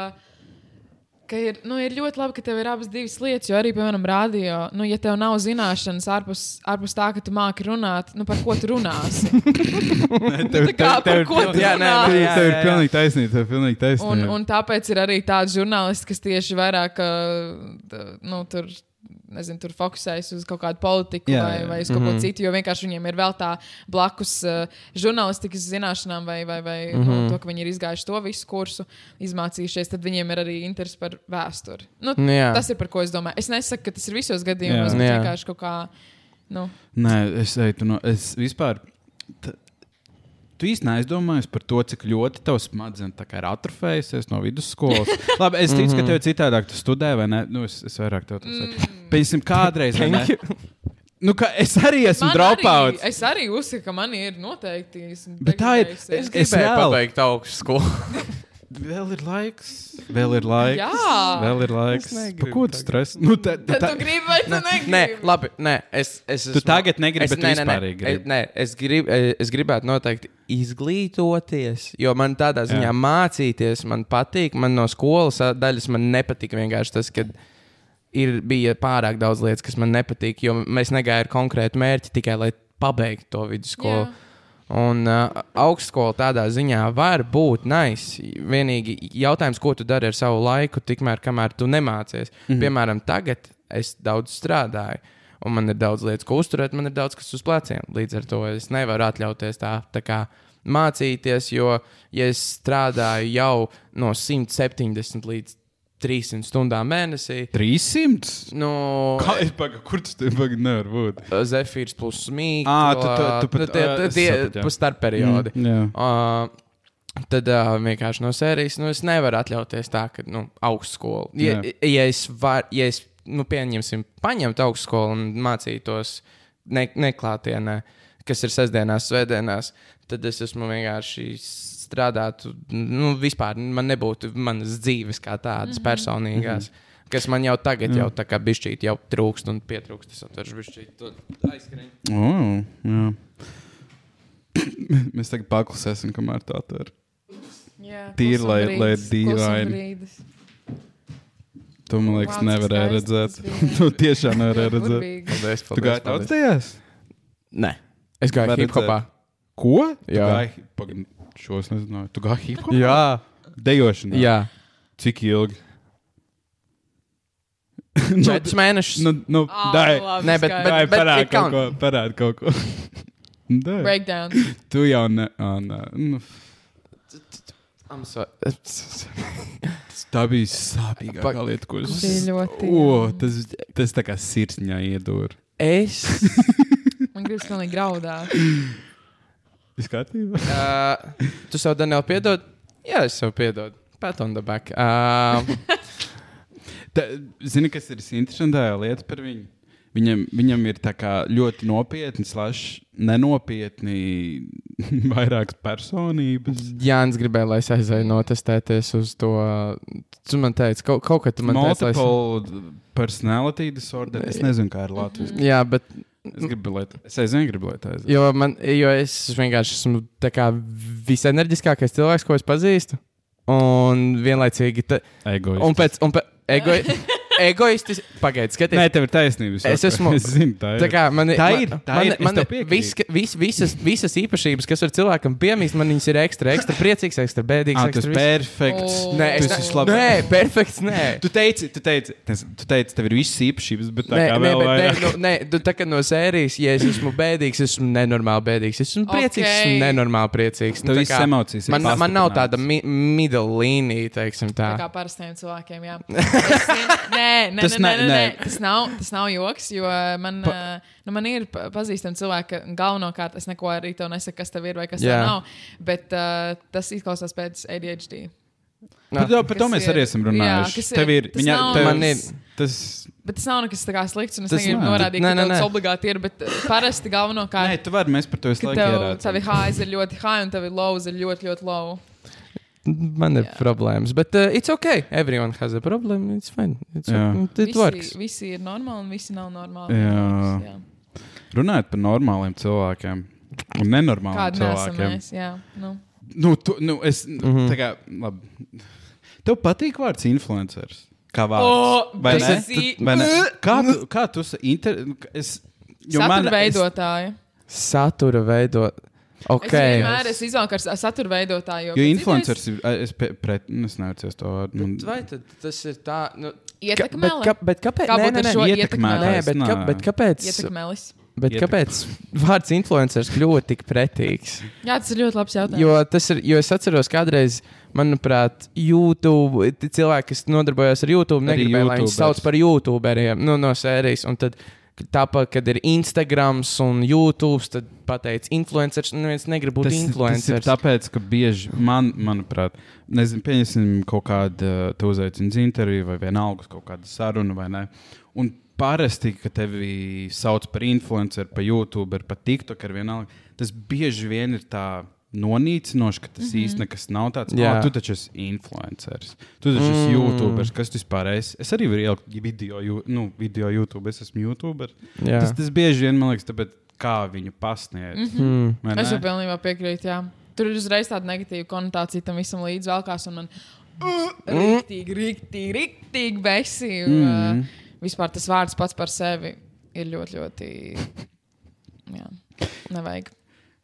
ka ir, nu, ir ļoti labi, ka tev ir abas divas lietas. Jo arī, piemēram, rādio, nu, ja tev nav zināšanas ārpus, ārpus tā, ka tu māki runāt, nu, par ko tu runāsi.
Tev,
Nu, tā kā par ko tu
jā, nē,
runā?
nē, jā, jā,
tev ir
jā.
pilnīgi taisnība. Tev ir pilnīgi taisnība.
Un, un tāpēc ir arī tādi žurnālisti, kas tieši vairāk uh, t- nu, tur, nezinu, tur fokusējas uz kaut kādu politiku
Jā,
jā, vai,
jā.
vai uz kaut mm -hmm. ko citu, jo vienkārši viņiem ir vēl tā blakus uh, žurnālistikas zināšanām, vai, vai, vai mm
Mhm.
-hmm. nu, to, ka viņi ir izgājuši to visu kursu, izmācījušies, tad viņiem ir arī interesi par vēsturi. Nu,
Nu, jā.
tas ir par ko es domāju. Es nesaku, ka tas ir visos gadījumos,
Jā.
bet
Jā.
vienkārši kaut kā. Nu,
Nē, es teiktu, no es vispār. t- Tu īsti neaizdomājies par to, cik ļoti tavs smadzenes tā kā ir atrofējusies no vidusskolas. Labi, es ticu, ka tev ir citādāk, tu studē, vai ne? Nu, es, es vairāk tev to saku. Pieņemsim, Mm. kādreiz. vai ne? Nu, ka es arī esmu
man arī,
dropouts.
es arī uzskatu, ka man ir noteikti. esmu
Bet tā ir-
degradējusies.
Es
Es
gribēju
reāli-
pabeigt augstskolu.
Vēl ir laiks. Vēl ir laiks.
Jā.
Vēl ir laiks.
negribu
Par ko tu
tagad.
stresi? Nu, tā, tu,
Tad
tā,
tu gribi, vai tu negribi?
Nē, labi, nē, es. es
Tu tagad negribi, bet tu
nē, nē,
vispārīgi
nē,
gribi.
nē, es, grib, eh, es gribētu noteikti izglītoties, jo man tādā ziņā Jā.
Jā.
mācīties, man patīk, man no skolas ā, daļas man nepatika vienkārši tas, ka ir, bija pārāk daudz lietas, kas man nepatīk, jo mēs negājām ar konkrētu mērķi tikai lai pabeigtu to vidusskolu.
Jā.
Jā. Un uh, augstskola tādā ziņā var būt nice. Vienīgi jautājums, ko tu dari ar savu laiku, tikmēr, kamēr tu nemācies. Mm
Mhm.
-hmm. Piemēram, tagad es daudz strādāju, un man ir daudz lietas, ko uzturēt, man ir daudz kas uz pleciem. Līdz ar to es nevaru atļauties tā, tā kā mācīties, jo, ja es strādāju jau no 170 līdz 300 stundām mēnesī,
300?
nu,
Kā, es paga, kur tas tev pagaidi nevar būt?
Zefīrs plus mīgs.
Ā, tu- tu- tu pat-
tie,
ā, es
tie,
sapratu, jā.
tie starp periodi.
Mm, jā.
uh, tad uh, vienkārši no sērijas nu, es nevaru atļauties tā, ka nu, augstskola. Ja,
Jā.
ja es, var, ja es nu, pieņemsim, paņemtu augstskolu un mācītos ne, neklātienē, kas ir sestdienās, svētdienās, tad es esmu vienkārši strādātu, nu, vispār man nebūtu manas dzīves kā tādas mm -hmm. personīgās. Mm -hmm. Kas man jau tagad, jau tā kā bišķīt, jau trūkst un pietrūkst. Es atveru bišķīt, to aizskrēju.
Oh, jā. Mēs tagad paklusēsim, kamēr tā atver.
Jā,
Tīri, lai-
klusuma
lai
brīdis, klusuma
dīvaini.
brīdis.
To, man liekas,
Vārds
nevarēja
skaists
redzēt.
bija.
to tiešām nevarēja redzēt.
Burvīgi.
Paldies,
Tu gāji
paldies. paldies.
tautsdējās?
Nē, es gāju
Var
hip hopā.
redzēt. Ko? Tu
Jā.
gāji- Pagaidi, Šo es nezināju. Tu gāji hip hop?
Jā,
Dejošanā.
jā.
Cik ilgi?
Četrus mēnešus.
Nu, nu,
Ā,
dai.
Ah, labi,
Nē, bet-
skaidrs.
Dai,
bet
parādi
it
kaut
count.
ko. Parādi kaut ko. Dai.
Breakdown.
Tu jau ne. ā, nē. Nu,
I'm sorry.
Tā bija sāpīgākā
Pak-
lieta, ko es
Tas bija ļoti,
O,
jā.
tas, tas tā kā sirsniņā iedūr.
Es.
Man gribas pilnīgi graudāt.
Viss kārtībā?
Uh, tu sev, Daniel, piedod? Jā, es sev piedodu. Pat on the back. Uh,
Tā, zini, kas ir interesantākā lieta par viņu? Viņam, viņam ir tā kā ļoti nopietni, slash, nenopietni vairākas personības.
Jānis gribēja, lai es aizēju notestēties uz to. Tu man teici, kaut, kaut kā tu man teici, lai es.
Multiple personality disorder. Es nezinu, kā ir Latvijas.
Jā, bet
Es gribu, lai tā. Es aizvien gribu, lai tā aiziet.
jo, man, jo es vienkārši esmu tā kā visenerģiskākais cilvēks, ko es pazīstu. Un vienlaicīgi. Ta,
Egoisti.
un pēc. Un pēc ego, egoistis. Pagaidi, skaties.
Nē, tev ir taisnība. visur.
Es esmu-
Es zinu, tā ir.
Tā kā man
Tā
man-
ir, tā
man,
ir, es
Man,
tev piekrītu.
vis, vis, visas, visas īpašības, kas ar cilvēkam piemīst, man viņas ir ekstra, ekstra priecīgs, ekstra bēdīgs.
Ā,
ekstra
Ah, tas ir
viss. Oh.
perfekts.
O.
Nē,
tu
es
esi
ne-
slaba.
Nē, perfekts. Nē.
Tu teici, tu teici, tas, tu teici, tev ir visas īpašības, bet tā
Nē,
kā
nē,
vēl
bet, nē,
vairāk.
nu, nē, tu tā kā no sērijas, ja es esmu bēdīgs, es esmu nenormāli bēdīgs. Es esmu priecīgs,
Ok.
esmu nenormāli priecīgs. Nu,
Tev
tā
visas
kā
emocijas ir
Man, man nav
pastiprinātas.
tāda mi middle līnija, teiksim tā.
Tā kā parastiem cilvēkiem, jā. Es zinu- Nē, nē,
Tas
nē, nē,
ne-
nē, nē.
nē.
Tas, nav, tas nav joks, jo man, pa... nu, man ir pa- pazīstami cilvēki, ka galvenokārt es neko arī tev nesaku, kas tev ir vai kas
Jā.
tev nav. Bet uh, tas izklausās pēc ADHD.
Nu,
Par to, par to
Kas
mēs
ir-
arī esam
jā,
runājuši.
kas ir-
Tev ir,
tas
viņa,
nav-
tev,
Man ir-
Tas,
Bet tas nav nekas tā kā slikts, un es
Tas
negribu
nav.
norādīt,
Nē,
ka
nē,
tas
nē.
obligāti ir. Bet uh, parasti
nē,
galvenokārt.
tu vari, mēs par to visu
Ka
laiku
tev
ierādām.
tavi highs ir ļoti high, un tavi lows ir ļoti, ļoti low.
Man ir
Jā.
problēmas, bet uh, it's ok. Everyone has a problem. It's fine. It's
Jā.
okay. It works.
Visi, visi ir normāli, un visi nav normāli.
Jā.
jā.
Runājot par normāliem cilvēkiem. Un nenormāliem
Kādi mēs esam?
cilvēkiem.
mēs, Jā, nu.
Nu, tu, nu, es, mm -hmm. tā kā, labi. Tev patīk vārds influenceris. Kā vārds?
O,
vai
tas
ne?
ir-
Tu- vai ne? Kā tu, kā tu sa- inter... es, jo man-
Satura
es-
veidotāji.
Satura veidot.
Es
Okay.
vienmēr esmu izvēlējies ar satura veidotāju.
Jo influenceris ir, es pe- pret, nu, es neatceros to vārdu. Man-
Vai tad tas ir tā, nu,
ietekmē,
Mm. Ka, bet, ka, bet kāpēc?
Kā
Nē,
būtu
nē,
ar
nē,
šo
iet-
ietekmētājs?
nē,
ietekmēlis?
bet, ka,
Nē.
bet kāpēc?
ietekmēlis.
Bet
Ietek-
kāpēc vārds influenceris kļuva tik pretīgs?
Jā, tas ir ļoti labs jautājums.
Jo, tas ir, jo es atceros, kādreiz, manuprāt, YouTube, t- cilvēki, kas nodarbojās ar YouTube,
Arī
negribēja, lai viņus
YouTubers.
sauc par YouTuberiem nu, no sērijas. Un tad, k- tāpat, kad ir Instagrams un YouTube, tad pateicis, influenceris, un neviens negrib būt influenceris.
Tas ir tāpēc, ka bieži man, manuprāt, nezinu, pieņemsim kaut kādu te uzaicinu uz interviju vai vienalga uz kaut kādu sarunu vai ne. Un parasti, kad tevi sauc par influenceru, par YouTube, par TikTok, ar vienalga, tas bieži vien ir tā. Nonīcinoši, ka tas
Mhm.
mm -hmm. īstenībā nekas nav tāds. Jā,
Jā.
oh, tu taču esi influenceris. Tu taču mm. esi YouTuberis. Kas tu vispār esi? Es arī varu ielikt video, jū- nu, video YouTube. Es esmu YouTuberis.
Jā.
Tas, tas bieži vien man liekas, tāpēc, kā viņu pasniedz. Mm
Mm.
-hmm.
Mhm. Es jau pilnībā piekrītu. Jā. Tur ir uzreiz tāda negatīva konotācija tam visam līdz valkās. un Man... Uh, Riktīgi, riktīgi, riktīgi besīgi. Mm. Vispār tas vārds pats par sevi ir ļoti, ļoti. Jā. Nevajag.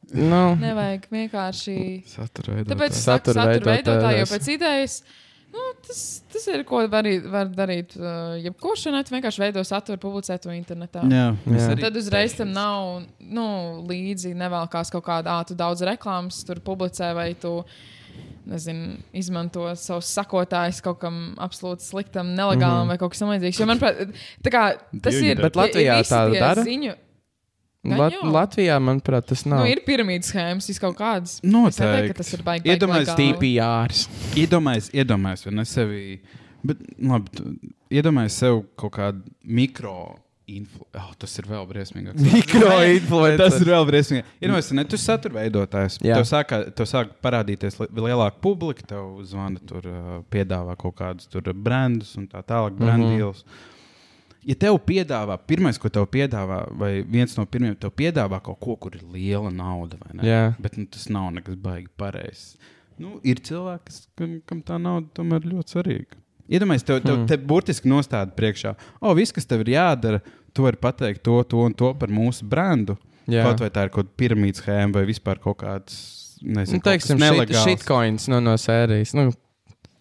Nu,
Nevajag vienkārši.
Satura veidā.
Tāpēc es
Satura
saku, satura
veidotājs.
veidotāji, jo pēc idejas nu, tas, tas ir, ko var, arī- var darīt. Uh, jebkurš internetā vienkārši veido saturu, publicē to internetā.
Jā,
Jā.
jā.
arī
Tad uzreiz tam nav nu, līdzi nevelkās kaut kāda, ah, tu daudz reklāmas tur publicē, vai tu nezinu, izmanto savus sakotājus kaut kam absolūti sliktam,
Mhm.
nelegālam mm -hmm. vai kaut kas tamlīdzīgs. Jo, manuprāt, tā kā, tas
Dievi
ir.
dara. Bet
Latvijā
visi
tā
tie
dara?
Ziņu, Gan
Lat
jau.
Latvijā, manuprāt, tas
nu,
nav.
ir piramīdas schēmas, vis kaut kādas. Es neteiktu, ka
Noteikti.
tas ir baigi. baigi
Iedomājies
legāli.
DPRs.
Iedomājies, iedomājies, vai ne sevi. Bet, nu, labi, tu- iedomājies sev kaut kādu mikro. Influ... Oh, tas ir vēl briesmīgāk.
Mikroinfluenceri.
Tas ir vēl briesmīgi. Ir jau tā, tu satura veidotājs.
Jā.
Tev sākā, tev sāk parādīties li- lielāka publika, tev zvana, tur uh, piedāvā kaut kādus tur brandus un tā tālāk, brandīlus. Mm -hmm. Ja tev piedāvā, pirmais, ko tev piedāvā, vai viens no pirmajiem, tev piedāvā kaut ko, kur ir liela nauda, vai ne?
Jā.
Bet nu, tas nav nekas baigi pareizs. Nu, ir cilvēki, kas- kam, kam tā nauda tomēr ļoti svarīga. Iedomājieties, tev, tev hmm. te burtiski nostāda priekšā, o, viss, kas tev ir jādara, tu vari pateikt to, to un to par mūsu brendu.
Jā.
Kaut vai tā ir kaut kāda piramīdas schēma vai vispār kaut kāds. Nezinu,
Nu, teiksim,
nelegāls.
shitcoins no, no sērijas. Nu,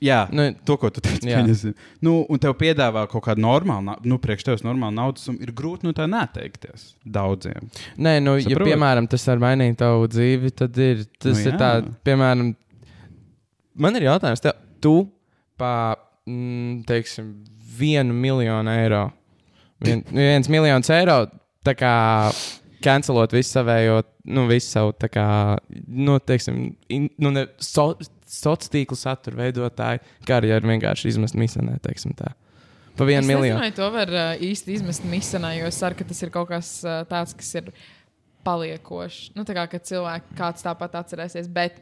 Jā, nu,
Nu,
to, ko tu teici,
jā.
pieņemsim. Nu, un tev piedāvā kaut kādu normālu, na- nu, priekš tevis normālu naudas, un ir grūti no tā neteikties daudziem.
nē, nu, ja,
Saproti?
piemēram, tas var mainīt tavu dzīvi, tad ir, tas
Nu,
nu,
jā.
ir tā, piemēram, man ir jautājums, tev, tu pa, mm, teiksim, vienu miljonu eiro, vien, viens miljons eiro, tā kā kancelot visu savējo, nu, visu savu, tā kā, nu, teiksim, in, nu, ne, so, sociālo tīklu saturu veidotāju karjeru vienkārši izmest misanē, teiksim tā. Pa vienu
Es
miljonu.
nezinu, vai to var uh, īsti izmest misanā, jo es ceru, ka tas ir kaut kas uh, tāds, kas ir paliekošs. Nu, tā kā ka cilvēki kāds tāpat atcerēsies. Bet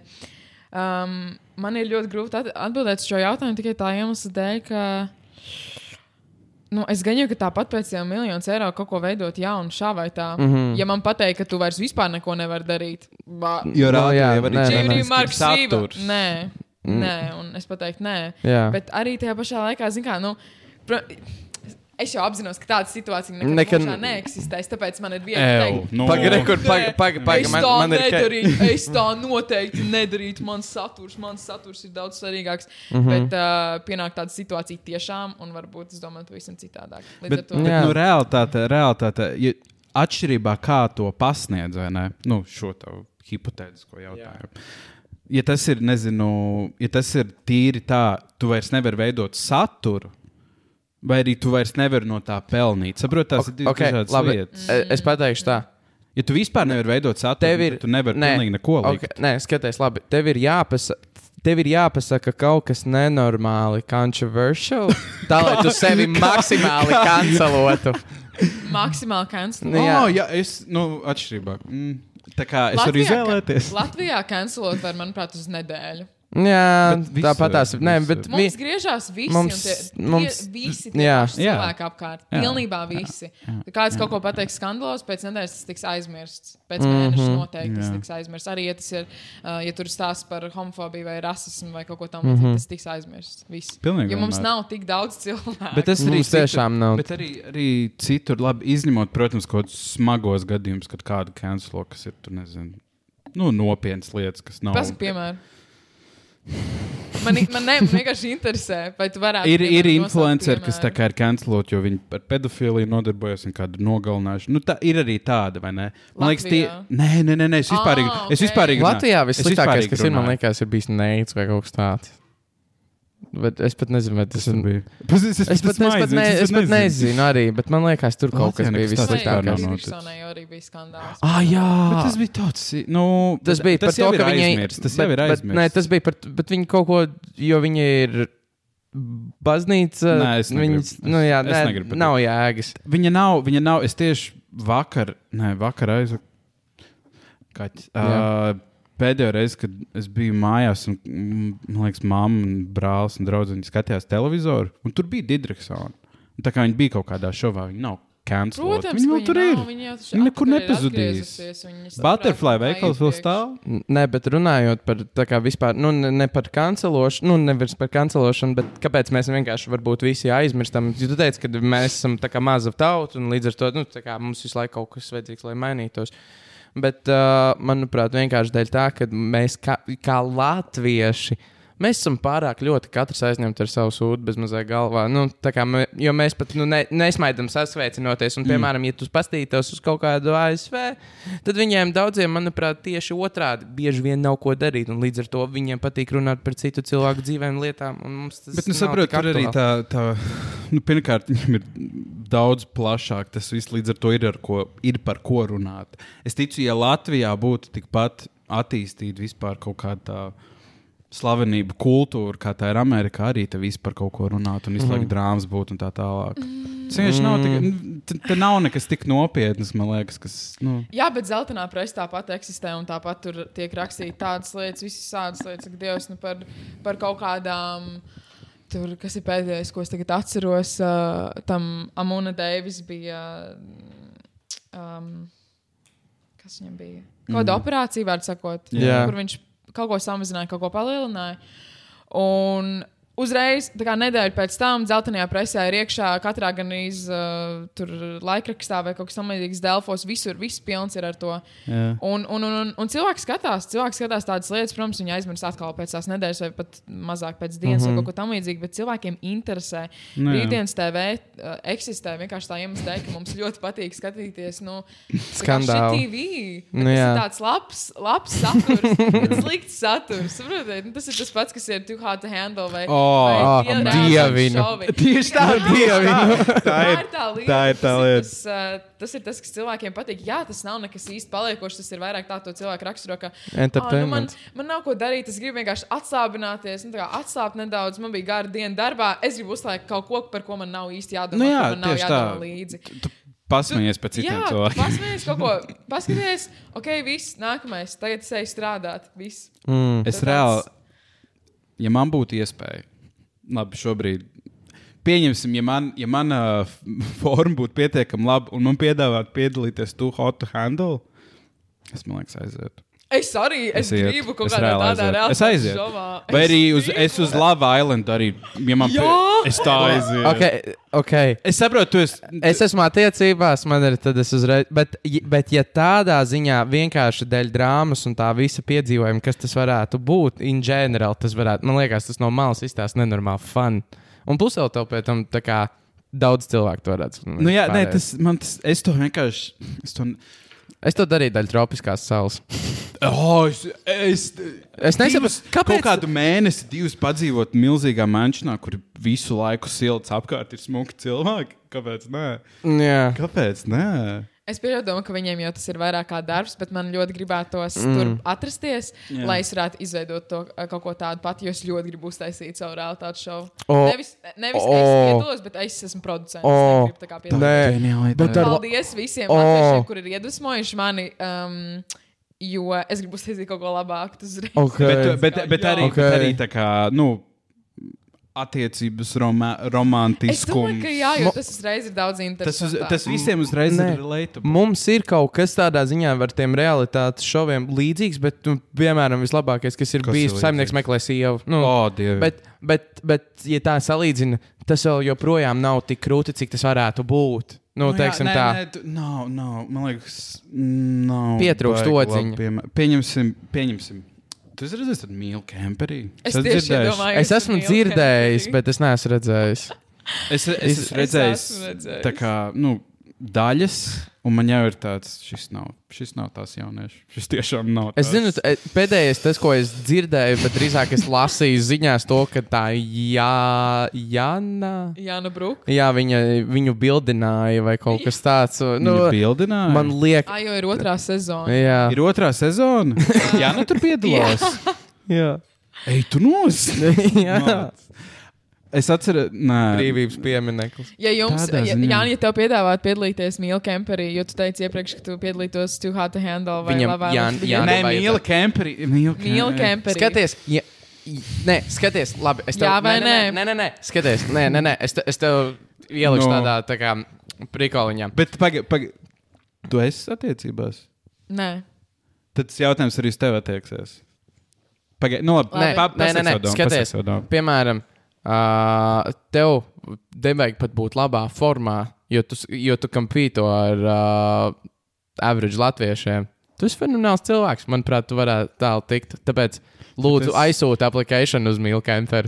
um, man ir ļoti grūti at atbildēt uz šo jautājumu tikai tā iemesla dēļ, ka. Nu, es gaņoju, ka tāpat pēc tam miljoniem eiro kaut ko veidot jaunu, šā vai tā. Mm
Mhm.
-hmm. Ja man pateikt, ka tu vairs vispār neko nevari darīt, bā,
Jo
Nu,
rādio
jā, nē, Mm.
jau arī ir
nē,
Ķīri,
nē.
Marks,
saturs.
Rīva. Nē, nē, un es pateiktu, nē.
Jā.
Bet arī tajā pašā laikā, zin kā, nu. Pro... Es jau apzinos, ka tāda situācija nekad,
Nekad-
nekad... neeksistēs, tāpēc man ir viegli
Ew,
pateikt,
nu.
Pagaid, kur pagaid, pagaid,
Paga,
pagaid.
es
Man,
tā
man ir ka-
nedarīju, es tā noteikti nedarītu. Mans saturs, mans saturs ir daudz svarīgāks. Mm
Mhm.
-hmm. Bet uh, pienāk tāda situācija tiešām, un varbūt es domāju, pavisam citādāk. Līdz
Bet,
ar to
bet
Jā.
nu, realitāte, realitāte ja atšķirībā kā to pasniedz, vai ne? Nu, šo tavu hipotētisko jautājumu. Ja tas ir, nezinu, ja tas ir tīri tā, tu vairs nevari veidot saturu, vai arī tu vairs nevari no tā pelnīt. Saproti, tās okay, ir divas
Ok,
okay, dažādas
labi.
labi. lietas.
E- Es pateikšu tā.
Ja tu vispār nevari veidot saturu,
Tev
tad
ir.
tu nevari
nē,
pilnīgi neko likt.
ok, Nē, skaties, labi. Tev ir jāpasa. Tev ir jāpasaka kaut kas nenormāli, controversial. Tā lai tu sevi maksimāli kancelotu.
maksimāli kancelu.
Nu,
Okay.
jā.
Oh, jā, es, nu, atšķirībā. Mm, tā kā es varu
Latvijā ka-
izvēlēties.
Latvijā kancelot var, manuprāt, uz nedēļu.
Jā,
Bet visur,
tāpat tās. Nē, bet vi-
Mums griežās visi,
mums-
mums, tie,
mums-
mums, tie, visi tie
jā.
jā,
Jā.
cilvēki apkārt.
Jā.
Jā, pilnībā visi. Ja Kāds kaut ko pateiks skandalos, pēc nedēļas tas tiks aizmirsts. Pēc mēneša mm -hmm. noteikti tas
Jā.
tiks aizmirsts. Arī ja tas ir, uh, ja tur stāsta par homofobiju vai rasismu vai kaut ko tamlīdzīgu, mm -hmm. tas tiks aizmirsts. Viss.
Pilnīgi
Jo mums
vienmēr.
nav tik daudz cilvēku.
Bet tas arī
Mums tiešām nav.
Bet arī, arī citur, labi, izņemot, protams, kaut kādus smagos gadījumus, kad kāda kancelo, kas ir tur, nezinu, nu, nopietnas lietas, kas nav.
Pasaka, piemēram. Man, i- man, ne, man vienkārši interesē, vai tu varētu.
Ir, ir
piemēram,
influenceri,
nosaukt
kas tā
piemēru.
kā ir kancelot, jo viņi par pedofiliju nodarbojas un kādu nogalināšanu. Nu, tā ir arī tāda, vai ne? Man liekas, tie.
Latvijā?
Nē, nē, nē, nē es vispār.
Ah,
Es
ok.
vispār.
Latvijā vissliktākais, kas ir, man liekas, ir bijis neicis vai kaut kas tāds. Bet es pat nezinu, vai tas ir.
Es,
Es pat, es, pat ne, es pat nezinu, arī, bet man liekas, tur kaut kas
Latvijā
bija
nekas tāds vispār nav
vissliktākais.
noticis.
Fergusonai jau arī bija skandāls.
Ah, jā,
Bet tas bija tāds. Nu,
Tas bija tas
tas
par
jau
to,
ir
ka viņi
aizmirsts, Tas jau
bet-
ir aizmirsts.
Bet, nē, tas bija par to, bet viņi kaut ko, jo viņi ir baznīca.
Nē, es negribu.
viņas, nu, jā,
Es-
nē,
es negribu par to.
nav jēgas.
Viņa nav, viņa nav. Es tieši vakar, nē, vakar aizvakar. Kaķis. Uh,
Jā.
pēdējo reizi, kad es biju mājās, un mm, man liekas, mamma, un brālis un draugs skatījās televizoru, un tur bija Digitāla. Tā kā viņi bija kaut kādā šovā, viņi nav kancelēti.
Protams,
viņi vēl tur ir.
Nav, viņi jau tur
Viņi nekur nepazudīs. Butterfly veikals vēl stāv.
Nē, bet runājot par tā kā vispār, nu, ne, ne par kancelošanu, nu, nevis par kancelošanu, bet kāpēc mēs vienkārši varbūt visi aizmirstam. Jūs teicāt, ka mēs esam tā kā maza tauta un līdz ar to, nu, tā kā mums visu laiku kaut kas vajadzīgs, lai mainītos. Bet, uh, manuprāt, vienkārši dēļ tā, ka mēs kā, kā latvieši. Mēs esam pārāk ļoti katrs aizņemti ar savu sūdu bezmazliet galvā. Nu, tā kā mē, jo mēs pat nu, ne, nesmaidām sasveicinoties.
Mm.
Un, piemēram, ja tu paskatītos uz kaut kādu ASV, tad viņiem daudziem, manuprāt, tieši otrādi bieži vien nav ko darīt. Un līdz ar to viņiem patīk runāt par citu cilvēku dzīvēm, lietām. un mums tas
Bet, nu,
nav
saprotu,
tik
tur arī
aktuāli.
tā, tā nu, pirmkārt, viņam ir daudz plašāk. Tas viss līdz ar to ir, ar ko, ir par ko runāt. Es ticu, ja Latvijā būtu tikpat attīstīta vispār kaut kāda tā slavenība, kultūra, kā tā ir Amerikā, arī te viss par kaut ko runāt un
Mhm.
izslēgt mm. drāmas būtu un tā tālāk.
Mm.
Tas vienkārši nav tik, nu, te, te nav nekas tik nopietnas, man liekas, kas. Nu,
Jā, bet zeltainā presē tāpat eksistē, un tāpat tur tiek rakstīts tādas lietas, visas tādas lietas, ka Dievs nu par, par kaut kādām. Tur, kas ir pēdējais, ko es tagad atceros, uh, tam Amuna Deivis bija. Um, kas viņam bija? Kaut kāda mm. operācija, vārds sakot,
Jā.
kur viņš kaut ko samazināja, kaut ko palielināja. Un uzreiz, tā kā nedēļa pēc tam, dzeltenajā presē ir iekšā katrā gan iz uh, tur laikrakstā vai kaut kas tamlīdzīgs, Delfos, visur, viss pilns ir ar to.
jā.
Un, un, un, un, un cilvēks skatās, cilvēks skatās tādas lietas, protams, viņi aizmirst atkal pēc tās nedēļas, vai pat mazāk pēc dienas, mm
Mhm.
-hmm. vai kaut ko tamlīdzīgu, bet cilvēkiem interesē.
Nu jā.
Rītdienas TV uh, eksistē vienkārši tā iemesla dēļ, ka mums ļoti patīk skatīties, nu,
Skandāli.
TV.
Nu
Nu, tas
jā.
ir tāds labs, labs saturs, bet slikts saturs. Saprotiet, nu, tas ir tas pats, kas ir too hard to handle vai,
Oh,
vai
ah,
Fielder's
dievinu.
šovi.
Tieši tā,
Dievinu.
tā
Tā
ir.
ir tā lieta.
tā ir tā
tas, ir
lieta.
tas, uh, tas ir tas, kas cilvēkiem patīk. Jā, tas nav nekas īsti paliekošs. Tas ir vairāk tā, to cilvēku raksturo, ka "Ā, nu man,
Entertainment.
man nav ko darīt. Es gribu vienkārši atslābināties, nu, tā kā atslābt nedaudz. Man bija gara diena darbā. Es gribu uzlaikt kaut ko, par ko man nav īsti
Nu
jādomā.
jā,
ko man nav
tieši
jādomā
tā.
līdzi.
Tu pasmējies par citiem
Jā, tu
cilvēkiem.
pasmējies kaut ko. Paskaties, ok, viss, nākamais. Tagad es eju strādāt. Viss.
Mm.
Es
Tāpēc-
reāli, ja man būtu iespēja, labi, šobrīd. Pieņemsim, ja, man, ja mana f- forma būtu pietiekami laba un man piedāvātu piedalīties Too Hot to Handle, es man liekas, aizietu.
Es arī es
ietu.
gribu kaut
Es
kādā
reāli
tādā
aizietu.
reālā
Es aizietu.
šovā.
Vai
Es
arī uz,
gribu.
es uz Lava Island arī, ja man pie,
Jā!
es tā aizietu.
Okay, okay.
Es saprotu, tu esi.
Es esmu attiecībās, man ir tad es uzreiz. Bet, j- bet ja tādā ziņā vienkārši dēļ drāmas un tā visa piedzīvojuma, kas tas varētu būt, in general, tas varētu, man liekas, tas no malas izstāsta nenormāli fun. Un plus vēl tev pie tam tā kā daudz cilvēku to redz.
Nu, jā, nē, tas, man tas, es to vienkārši. Es to,
Es to darīju daļai tropiskās saules.
oh, es, es,
Es nesaprotu,
divus-
kāpēc-
Kaut kādu mēnesi, divus padzīvot milzīgā mančinā, kur visu laiku silts apkārt ir smuki cilvēki. Kāpēc? Nē,
Jā.
Kāpēc? Nē?
Es pieņemu, ka viņiem jau tas ir vairāk kā darbs, bet man ļoti gribētos mm. tur atrasties,
Jā.
yeah. lai es varētu izveidot to, eh, kaut ko tādu pat, jo es ļoti gribu uztaisīt savu realitātes šovu.
O.
Oh. Nevis, nevis oh. es
O.
piedalos, bet es esmu producents.
O.
Oh. Es negribu tā kā piedalīties.
Nē,
ģeniāla
bet
ideja.
ar,
Paldies visiem,
O.
oh. kur ir iedvesmojuši mani, um, jo es gribu uztaisīt kaut ko labāku. tas uzreiz.
Bet,
okay.
bet, bet, arī,
Ok.
okay. bet arī tā kā. Nu, Attiecības romā,
Es domāju, ka jā,
romantiskums.
Mo-
jo tas uzreiz ir daudz
Tas, uz,
interesantāk.
tas visiem uzreiz
Nē.
ir relatable.
Mums ir kaut kas tādā ziņā ar tiem realitātes šoviem līdzīgs, bet, nu, piemēram, vislabākais, kas ir
Kas
kas bijis,
ir
ir saimnieks
līdzīgs?
meklē sievu. Nu,
O, Dievi.
Bet, bet, bet, ja tā salīdzina, tas vēl joprojām nav tik krūti, cik tas varētu būt. Nu, nu, teiksim, jā,
jā, Nē,
nē,
nē, tu- nav, nav, man liekas, nav.
Pietrūkst
baigi
ociņa.
labi piemē- Pieņemsim, pieņemsim. Tu esi redzējis, tad mīlu kemperi.
Es tieši
tā,
domāju,
es esmu dzirdējis, bet es neesmu redzējis.
Es, es, es
Es-
esmu
redzēju,
redzējis.
tā kā, nu, daļas, un man jau ir tāds, šis nav, šis nav tās jaunieši. Šis tiešām nav.
Es
tās.
zinu, e, pēdējais, tas, ko es dzirdēju, bet drīzāk es lasīju ziņās to, ka tā jā, Jāna.
Jā, nu, Brūk.
Jā, viņa, viņu bildināja vai kaut kas tāds. Nu,
Viņu bildināja.
man liekas,
Ah, jo ir otrā sezona.
jā.
ir otrā sezona. Jā, nu tur piedalās.
jā.
Ej, tu nos!
jā.
Nāc. Es atceros, nē.
Brīvības piemineklis.
Ja jums,
Tādā
ja,
ziņā.
Jāni, ja tev piedāvāt piedalīties Mīlā Kemperī, jo tu teici iepriekš, ka tu piedalītos Too Hot to Handle vai
Viņam-
Lava
Jā,
Island, bet
jā.
Nē,
vajadzētu.
mīlu kemperi. Mīlu
Mīlā Kemperī.
Skaties, ja, i- nē, skaties, labi. Es tev,
Jā vai
nē? Nē, nē, nē, skaties, nē, nē, nē es, te, es tev ieliku
Nu.
no. tādā tā kā prikoliņā.
Bet pagaidi, paga. tu esi attiecībās.
Nē,
Tad tas jautājums arī uz tevi attieksies. Pagaidi, nu labi,
Nē,
pa-
nē,
pasaki
nē, nē,
savu domu, pasaki
skaties,
savu domu.
piemēram, uh, tev nevajag pat būt labā formā, jo tu, s- jo tu kompīto ar uh, average latviešiem. Tu esi fenomenāls cilvēks, manuprāt, tu varētu tālu tikt. Tāpēc Lūdzu,
Tas-
aizsūtiet aplikāciju uz Milkēnu.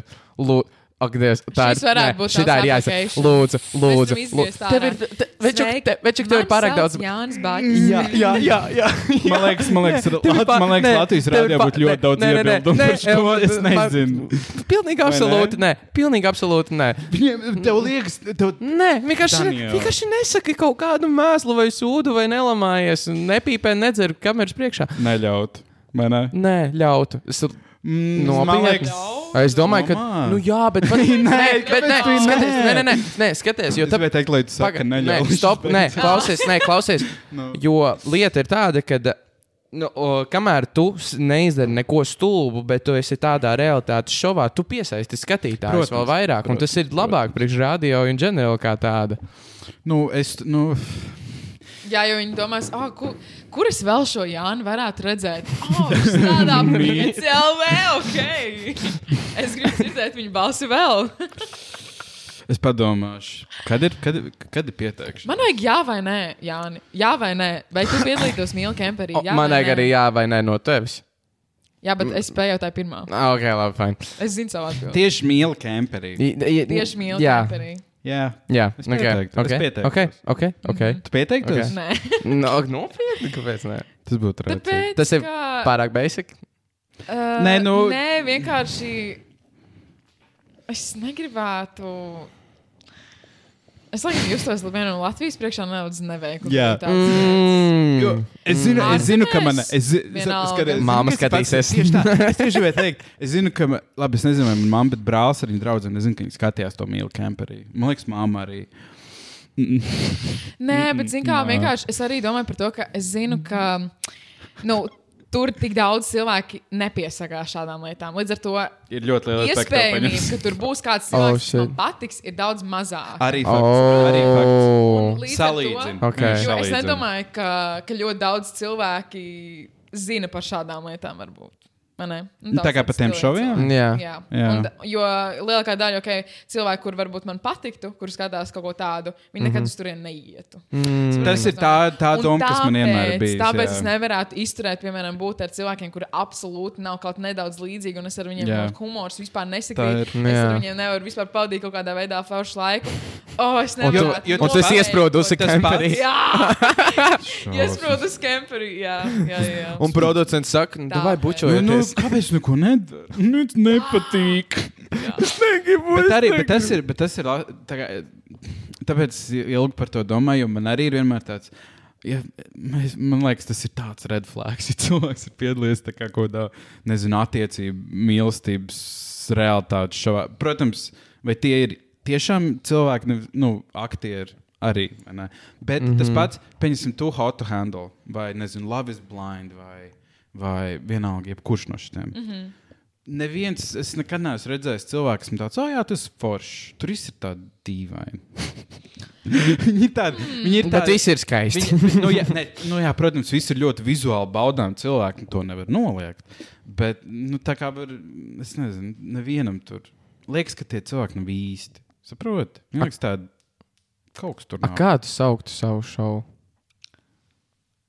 Ak, Dievs, tā
Šis varētu
nē,
būt
šitā
tavs
ir jāizsaka.
application.
Lūdzu, lūdzu.
izgriezt
lūdzu. Tev ir,
ārā.
te- večuk, te- večuk, tev ir pārāk daudz.
Jānis Bāķis.
Jā, jā, jā. jā, jā.
Man liekas, man liekas,
Tev ir
Lat,
pa-
man liekas
nē,
Latvijas
tev ir
rādījumā
pa-
būtu ļoti
nē,
daudz
nē, nē, nē,
iebildumu par
nē,
šo. Es
man-
nezinu.
Pilnīgi
Vai
absolūti nē. Pilnīgi absolūti nē.
Viņiem, tev liekas, tev
Nē, vienkārši,
Daniel.
vienkārši nesaki kaut kādu mēslu vai sūdu vai nelamājies. Nepīpē, nedzer kameras priekšā.
neļaut. Vai ne?
Nē, ļautu. Es,
Mm,
Nopietni?
man liekas,
es domāju, ka.
Domā.
Nu, jā, bet. Nē,
Nē,
bet nē,
kāpēc tu
skaties,
nē?
nē, nē, nē, nē, skaties. Jo
es
tā
gribēju teikt, lai tu
Paga-
saki, neļaut.
Nē, stop, nē, klausies, nē, klausies.
Nu.
Jo lieta ir tāda, ka. Nu, o, kamēr tu s- neizdari neko stulbu, bet tu esi tādā realitātes šovā, tu piesaisti skatītājus
Protams,
vēl vairāk. Protams, un tas ir
protams,
labāk priekš radio un ģenerāli kā tāda.
Nu, es, nu,
Jā, jo viņi domās, oh, ku, kur es vēl šo Jānu varētu redzēt? Oh, viņš strādā pie CLV, ok. Es gribu dzirdēt viņa balsi vēl.
es padomāšu. Kad ir, kad, ir- kad ir pieteikšana?
Man vajag jā vai nē, Jāni. Jā vai nē, vai tu piedalītos Mīlā Kemperī?
O, Man
vai
vajag
nē?
arī jā vai nē no tevis.
Jā, bet es pajautāju pirmā.
Ah, Ok, labi, fine.
Es zinu savu atbildību.
Tieši mīlu kemperī.
I- i-
Tieši Mīlā
Jā,
Kemperī.
Jā.
jā.
Es
Okay.
pieteiktu, es
Okay.
pieteiktos.
ok, ok, ok. Nu,
Tu pieteiktos?
Ok.
Okay.
Nē,
No, nopietni, kāpēc ne?
Tas būtu redzams.
tāpēc.
Tas ir
ka,
pārāk basic.
Uh,
Nē, nu-
Nē, vienkārši. Es negribētu. Es laikam justos vienam Latvijas priekšā nedaudz neveikli.
Jā.
Tāds, mm.
Jo, es zinu,
Mm.
es zinu, ka man
Mārtiņš!
es, zi- es,
Vienalga.
skaties- es, zinu,
Māma
kas pats-
skatīsies.
Tieši tā. Es tieši gribēju teikt, es zinu, ka, ma- labi, es nezinu, vai man mamma, bet brālis ar viņu draugu, es zinu, ka viņi skatījās to mīlu kemperī. Man liekas, mamma arī.
Nē, bet zinu, kā
nā.
vienkārši es arī domāju par to, ka es zinu, ka. Nu, Tur tik daudz cilvēku nepiesakās šādām lietām. Līdz ar to
Ir ļoti liela
iespējamība, ka tur būs
Oh,
kāds cilvēks, kas man
shit.
patiks, ir daudz mazāk.
Arī fakts. Arī fakts.
Oh.
Līdz ar to-
Salīdzinu.
Ok.
Vienkārši
Jo es
salīdzinu.
nedomāju, ka, ka ļoti daudz cilvēki zina par šādām lietām, varbūt. Vai ne? Nu,
Nu, tā
daudz
kā par tiem
cilvēki
šoviem?
cilvēki.
Jā.
Jā.
Jā.
Un, d- jo lielākā daļa okay, cilvēku, kur varbūt man patiktu, kur skatās kaut ko tādu,
Mhm.
viņi nekad uz turieni neietu. Mm.
Tas ir tā, tā doma, kas man vienmēr bija.
Tāpēc jā. es nevarētu izturēt, piemēram, būt ar cilvēkiem, kuriem absolūti nav kaut nedaudz līdzīgi, un es ar viņiem
Jā.
kaut humors vispār
Tā ir.
nesakrītu. Es ar
nu, Jā.
viņiem nevaru vispār pavadīt kaut kādā veidā foršu laiku. Oh, es
Un
nevaru.
tu,
Jo- jo
un tu esi iesprūdusi
Tas
kemperī.
pats.
Jā, iesprūdu skemperī. Jā, jā, jā.
Un producents saka, nu,
Tā,
vai
jā.
Nu, nu,
bučojamies.
kāpēc neko nedara? Nu, tas nepatīk.
negribu.
Bet, arī, bet tas ir. Bet tas ir la- tā kā, tāpēc es ilgi par to domāju, jo man arī ir vienmēr tāds. Ja, mēs, man liekas, tas ir tāds red flags. Ja cilvēks ir piedalījies tā kā kaut kādā, nezinu, attiecību, mīlestības realitātes šovā. Protams, vai tie ir tiešām cilvēki, nev- nu, aktieri arī. vai ne? Bet mm -hmm. tas pats, pieņemsim, to how to handle, vai, nezinu, love is blind, vai, vai vienalga, jebkurš no šiem. Mm -hmm. Neviens, es nekad neesmu redzējis cilvēku, kas man tāds, oh, jā, tas ir forši. Tur viss ir tā dīvaini. viņi ir tādi, viņi ir
Bet
tādi.
viss ir skaisti.
Viņi, vi- nu, jā, ne, nu, jā, protams, viss ir ļoti vizuāli baudāms. Cilvēki to nevar noliegt. Bet, nu, tā kā var, es nezinu, nevienam tur liekas, ka tie cilvēki nav īsti. Saprotiet, man liekas, tāda kaut kas tur
A,
nav.
kā tu sauktu savu šovu?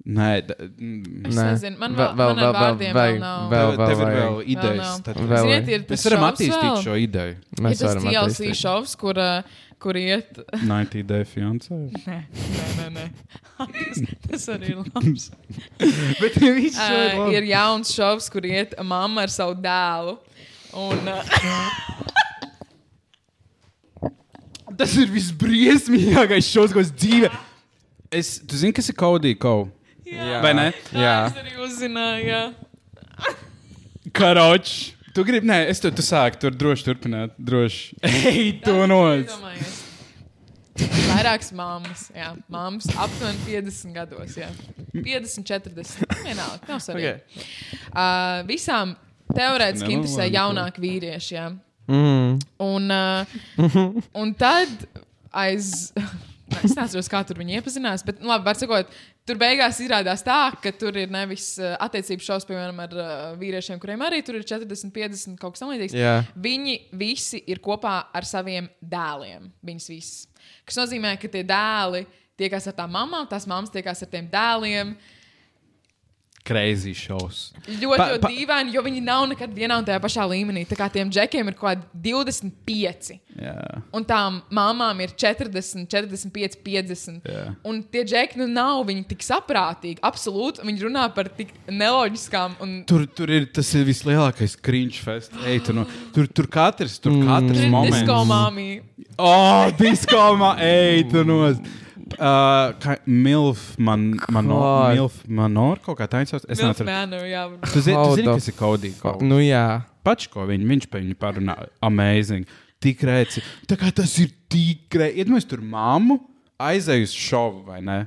Nē, da, mm,
Es
Nē.
nezinu, man
Vēl-
vēl,
vēl- vēl-
vēl, vēl,
vēl-
vārdiem vēl nav.
vēl-
tev, tev ir vēl
vēl-
idejas. tad-
Vēl-
Ziniet, ir
Mēs
tas
varam
šovs vēl.
attīstīt šo ideju.
Mēs
Ir tas
varam
TLC
attīstīt.
šovs, kur, ā, kur iet.
90 day fiancē.
Nē, nē, nē. nē. tas, tas arī ir labs.
Bet viņš
Uh, ir jauns šovs, kur iet mamma ar savu dēlu. Un, uh,
Tas ir visbriesmīgākais šos, ko es dzīvē. Es, tu zini, kas ir Kaudija Kau?
Jā.
Vai ne?
Jā.
Es arī uzzināju, jā.
Karoč. Tu gribi, nē, es to tu sāku, tur droši turpināt. Droši. Ej, tu noc.
Iedomājies. Vairākas mammas, jā, mammas aptuveni 50 gados. Jā. 50, 40. Vienalga, nav svarīgi.
Okay.
Okay. Uh, visām teorētiski
Nenormāli,
interesē
ko.
jaunāki vīrieši. Jā.
Mm.
Un, uh, un tad aiz. Nē, Es nezinu, kā tur viņi iepazinās, bet, nu, labi, var sakot, tur beigās izrādās tā, ka tur ir nevis uh, attiecību šausmas, piemēram, ar uh, vīriešiem, kuriem arī tur ir 40, 50 kaut kas tamlīdzīgs.
Jā.
Viņi visi ir kopā ar saviem dēliem. Viņas visas. Kas nozīmē, ka tie dēli tiekas ar tām mamām, tās mammas tiekas ar tiem dēliem.
crazy šovs. Pa-
Ļoti, pa,
pa-
ļoti dīvaini, jo viņi nav nekad vienā un tajā pašā līmenī. Tā kā tiem džekiem ir kaut kādi 25.
Jā.
Un tām mamām ir 40, 45, 50.
Jā.
Un tie džeki nu, nav viņi tik saprātīgi. Absolūti, viņi runā par tik neloģiskām un
Tur, tur ir tas ir vislielākais cringe fest. Ei, tur, no, tur, tur katrs, tur katrs
Tur ir
moments.
disko māmija.
Oh, diskomā, ej, tu nos. Uh, kā Milf, man, mano,
Kā?
Milf Manor, kaut kā tā viņš sauc. Es
Milf
nezinu,
Manor, jā.
tu zini, tu
How
zini
the
kas ir Cody. Ko-
Nu, jā.
Pač ko viņi, viņš pa viņu parunāja. Amazing. Tik rēci. Tā kā tas ir tik rēci. Iedomājies tur māmu, aizēju uz šovu, vai ne?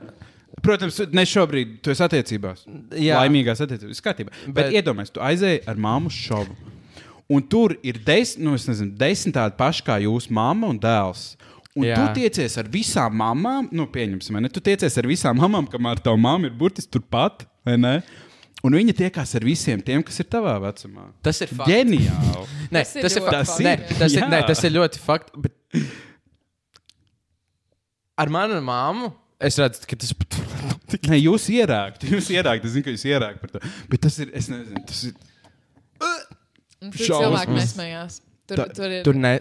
Protams, ne šobrīd, tu esi attiecībās.
Jā.
Laimīgās attiecībās, viss kārtībā. Bet,
Bet-
Bet iedomājies, tu aizēji ar māmu uz šovu. Un tur ir desmit, nu, es nezinu, desmit tādi paši kā jūsu mamma un dēls. Un Jā.
Jā.
tu tiecies ar visām mamām, nu, pieņemsim, vai ne? Tu tiecies ar visām mamām, kamēr tava mamma ir burtiski turpat, vai ne? Un viņa tiekās ar visiem tiem, kas ir tavā vecumā.
Tas ir fakts.
ģeniāli.
Nē,
Tas ir
tas ir
ļoti
fakts.
fakts.
Nē, tas ir-
Jā.
nē, tas ir ļoti fakts. Bet... Ar manu māmu es redzu, ka tas ir.
Nē, jūs ierākt, jūs ierākt, es zinu, ka jūs ierākt par to. Bet tas ir, es nezinu, tas ir.
Un Tur
Šausmas.
cilvēki nesmējās. Tur,
Ta-
tur ir.
Tur ne.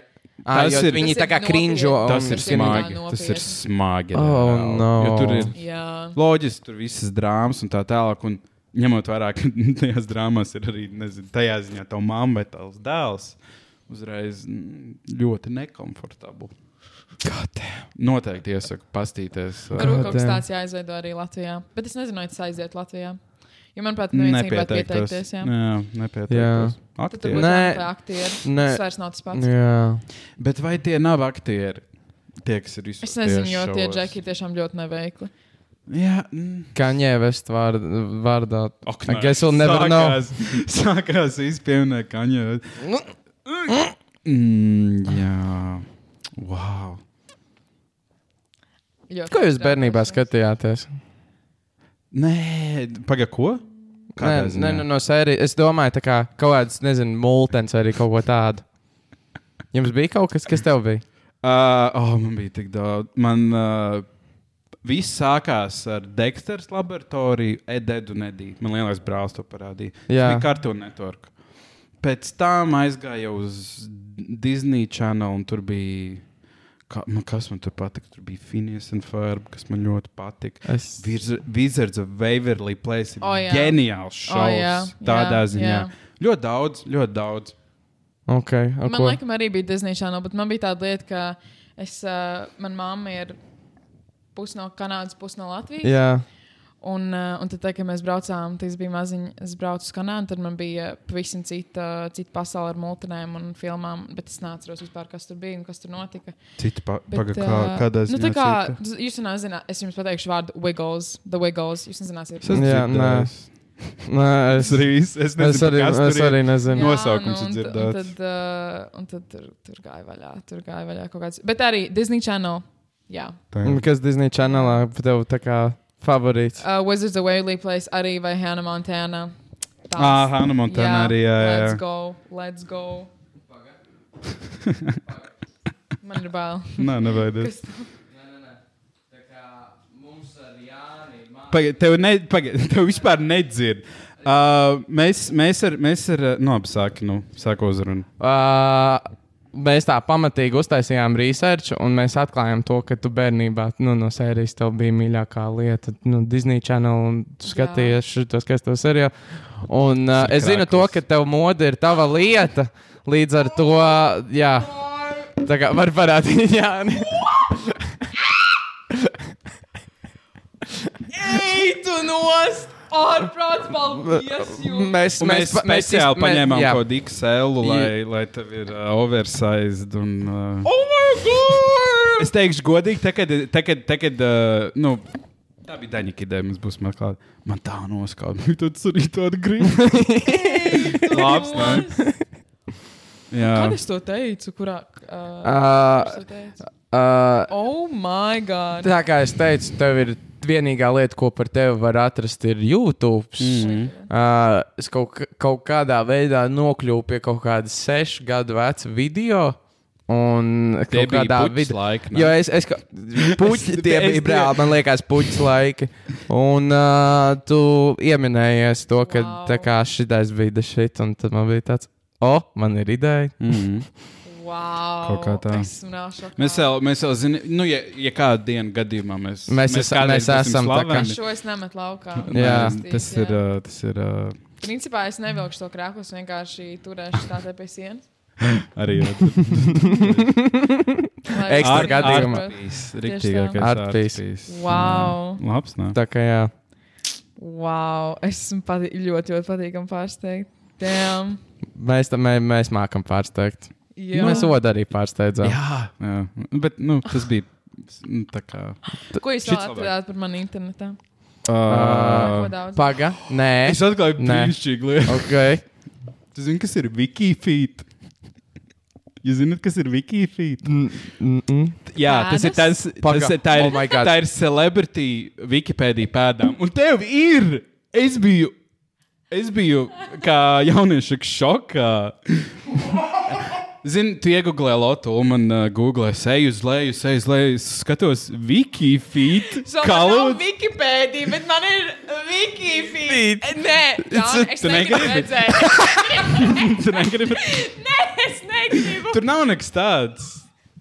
Ah,
Tas
jo
ir-
viņi
Tas
tā
ir
kā krīņo.
nopietni.
Tas
Un
ir
tas ir tā
smagi.
nopietni.
Tas ir smagi.
Oh,
reāli.
no.
Jo Tur ir
Jā.
loģiski, tur visas drāmas un tā tālāk. Un ņemot vērā, ka tajās drāmās ir arī, nezinu, tajā ziņā tā mamma vai tās dēls. Uzreiz mm, ļoti nekomfortabli. Noteikti iesaku pastīties.
Varbūt kaut kas
Goddamn.
tāds jāizveido arī Latvijā. Bet es nezinu, vai tas aiziet Latvijā. Jo, manuprāt, neviens negribētu pieteikties. Jā.
Jā,
Jā.
nepieteikties.
Tad
Aktieri.
tur būtu
Nē.
jāmeklē aktieri.
Nē.
Tas vairs nav tas pats.
Jā.
Bet vai tie nav aktieri? Tie, kas ir visu
Es nezinu, jo tie džeki ir tiešām ļoti neveikli.
Jā, mm.
Kaņē vest vārd- vārdā.
ok.
I guess we'll never know.
sākās, know. Sākās īstenībā kaņā.
Nu.
Mm, jā, wow.
Ļoti
Ko jūs
neveikli.
bērnībā skatījāties?
Nē, pagaidi, ko? Kādā
Nē,
ziņā?
nē, nu, no sērijas. Es domāju, tā kā kaut kāds, nezinu, multens vai arī kaut ko tādu. Jums bija kaut kas, kas tev bija?
Uh, oh, man bija tik daudz. Man uh, viss sākās ar Dexter's laboratoriju, Ededu un Ediju. Man liekas, brālis to parādīja.
Jā.
Tas bija Cartoon Network. Pēc tam aizgāja uz Disney Channel, un tur bija. Kā, man, kas man tur patika? Tur bija Finijas un Ferb, kas man ļoti patika.
Es...
Viz- Wizards of Waverly Place ir
O, jā.
ģeniāls
O,
šovs.
jā,
tādā
jā,
ziņā.
jā.
Ļoti daudz, ļoti daudz.
Okay, o
Man
ko?
liekas, arī bija Disneja Channel, bet man bija tāda lieta, ka es, uh, man mamma ir pusi no Kanādas, pusi no Latvijas.
Jā,
Un, uh, un tad, tā, kad mēs braucām, tas bija maziņš, es braucu uz Kanādu, tad man bija pavisam cita, cita pasaule ar multinēm un filmām, bet es neatceros vispār, kas tur bija un kas tur notika.
Citi pa,
Bet,
paga, kā,
ā,
kādā
nu,
ziņā.
tā kā,
cita?
tu- jūs jau nezināt, es jums pateikšu vārdu Wiggles, The Wiggles. Jūs nezināsiet,
Es esmu
Jā,
dzirdējis.
Nē, es,
Es arī, es es nezinu,
es arī,
kas tur
es
ir.
arī nezinu.
Jā. nosaukums ir
nu, un, t- un
dzirdēts.
tad, uh, un tad tur, tur gāja vaļā, tur gāja vaļā kaut kāds. Bet arī Disney Channel. Jā,
Tā
Un
ir.
Kas Disneja kanālā tev tā kā favorīts?
uh, Wizards of Waverly Place arī vai Hannah Montana. Tās.
Ah, Hannah Montana arī, jā, jā, jā.
Let's go, let's go. Man ir bail.
Nē, nevajag.
Kas-
Pagaid, tev, ne, pagaid, tev vispār nedzird. Uh, mēs, mēs ar, mēs ar, uh, nu, labi, sāki, nu, sāku uzrunu.
Uh, Mēs tā pamatīgi uztaisījām research, un mēs atklājām to, ka tu bērnībā nu, no sērijas tev bija mīļākā lieta. Nu, Disneja kanāla, un tu
Jā.
skaties šo skaistos seriālu. Un uh,
Tas ir
es zinu to,
krāklis.
ka tev mode ir tava lieta. Līdz ar to, jā, tā kā var parādīt, jā.
Ej, tu nost! Ārprāts, paldies! jums!
Mēs,
Un Mēs, mēs, mēs speciāli
mēs-
paņēmām
jā.
kaut kādu XL, lai, lai tev ir uh, oversized. Un, uh,
Oh my
Oh
god!
es teikšu, godīgi, tagad, tagad, tagad uh, nu, tā bija Daņika ideja, mums būs meklēt. Man tā noskaņa, tas arī tāds grīns.
Tu
Labs, ne?
nost! Kad es to teicu, kurā. Uh,
Ā,
es to teicu?
ā,
oh, my God!
Ah. Tā kā es teicu, tev ir vienīgā lieta, ko par tevi var atrast, ir YouTube.
Mhm.
Mm -hmm. uh, es kaut, k- kaut kādā veidā nokļuvu pie kaut kāda sešu gadu veca video. Un
Tie
kaut
bija
kādā
puķis
vidē.
laiki, ne?
Jo es, es, ka- puķi,
Es-
tie
es-
bija brāli, man liekas, puķis laiki. Un uh, tu pieminējies to, ka
Wow.
tā kā šitais bija da šit, un tad man bija tāds, o, oh, man ir ideja.
Mm.
Wow.
Kaut kā tā.
Esmu nav šokā.
Mēs vēl, mēs vēl zinām, nu, ja, ja kādā dienā gadījumā mēs,
Mēs esam-
kādreiz
mēs
būsim
esam tā kā-
slaveni.
Šo es nemetu laukā.
Jā.
Nē, tas ir. uh, ā, Tas ir ā,
Principā es nevilkšu to krāklus, vienkārši turēšu tā te pie sienas.
arī ā,
Lai-
Ekstra
art-
gadījumā.
artpiece,
Tieši
riktīgākais
tā. Artpiece. Mhm.
artpiece.
Wow.
Jā. Labs, nē.
Tā kā jā.
Wow. Es esmu pati, ļoti, ļoti patīkami pārsteigts. Damn.
Mēs tam mēs, mēs mākam pārsteigt. Jā.
Jā.
Mēs odu arī pārsteidzām.
Jā. Jā. Bet, nu, tas bija. nu, Tā kā.
Ko jūs
Šits
vēl atradāt par mani internetā?
Ā.
Ko daudz?
Paga, nē.
Es atklāju
Nē.
brīnišķīgu lietu.
Ok.
Tu zini, kas ir Wikifeet? Jūs zināt, kas ir Wikifeet?
Mm, mm, mm.
Jā, tas ir tas,
Paga-
tas ir, tā ir,
Oh my God.
oh tā ir celebrity Wikipēdija pēdām. Un tev ir! Es biju, es biju kā jaunieša šokā. Zini, tu iegūlē lotu, un man uh, googlē, eju uz leju, eju uz leju, es skatos Wikifeet.
So
Kā
man nav
lūdzu?
Wikipēdija, bet man ir Wikifeed. Nē, tā,
It's-
es
tu
negribu
negribi?
redzēt.
Tu negribi-
Nē, es negribu.
Tur nav nekas tāds.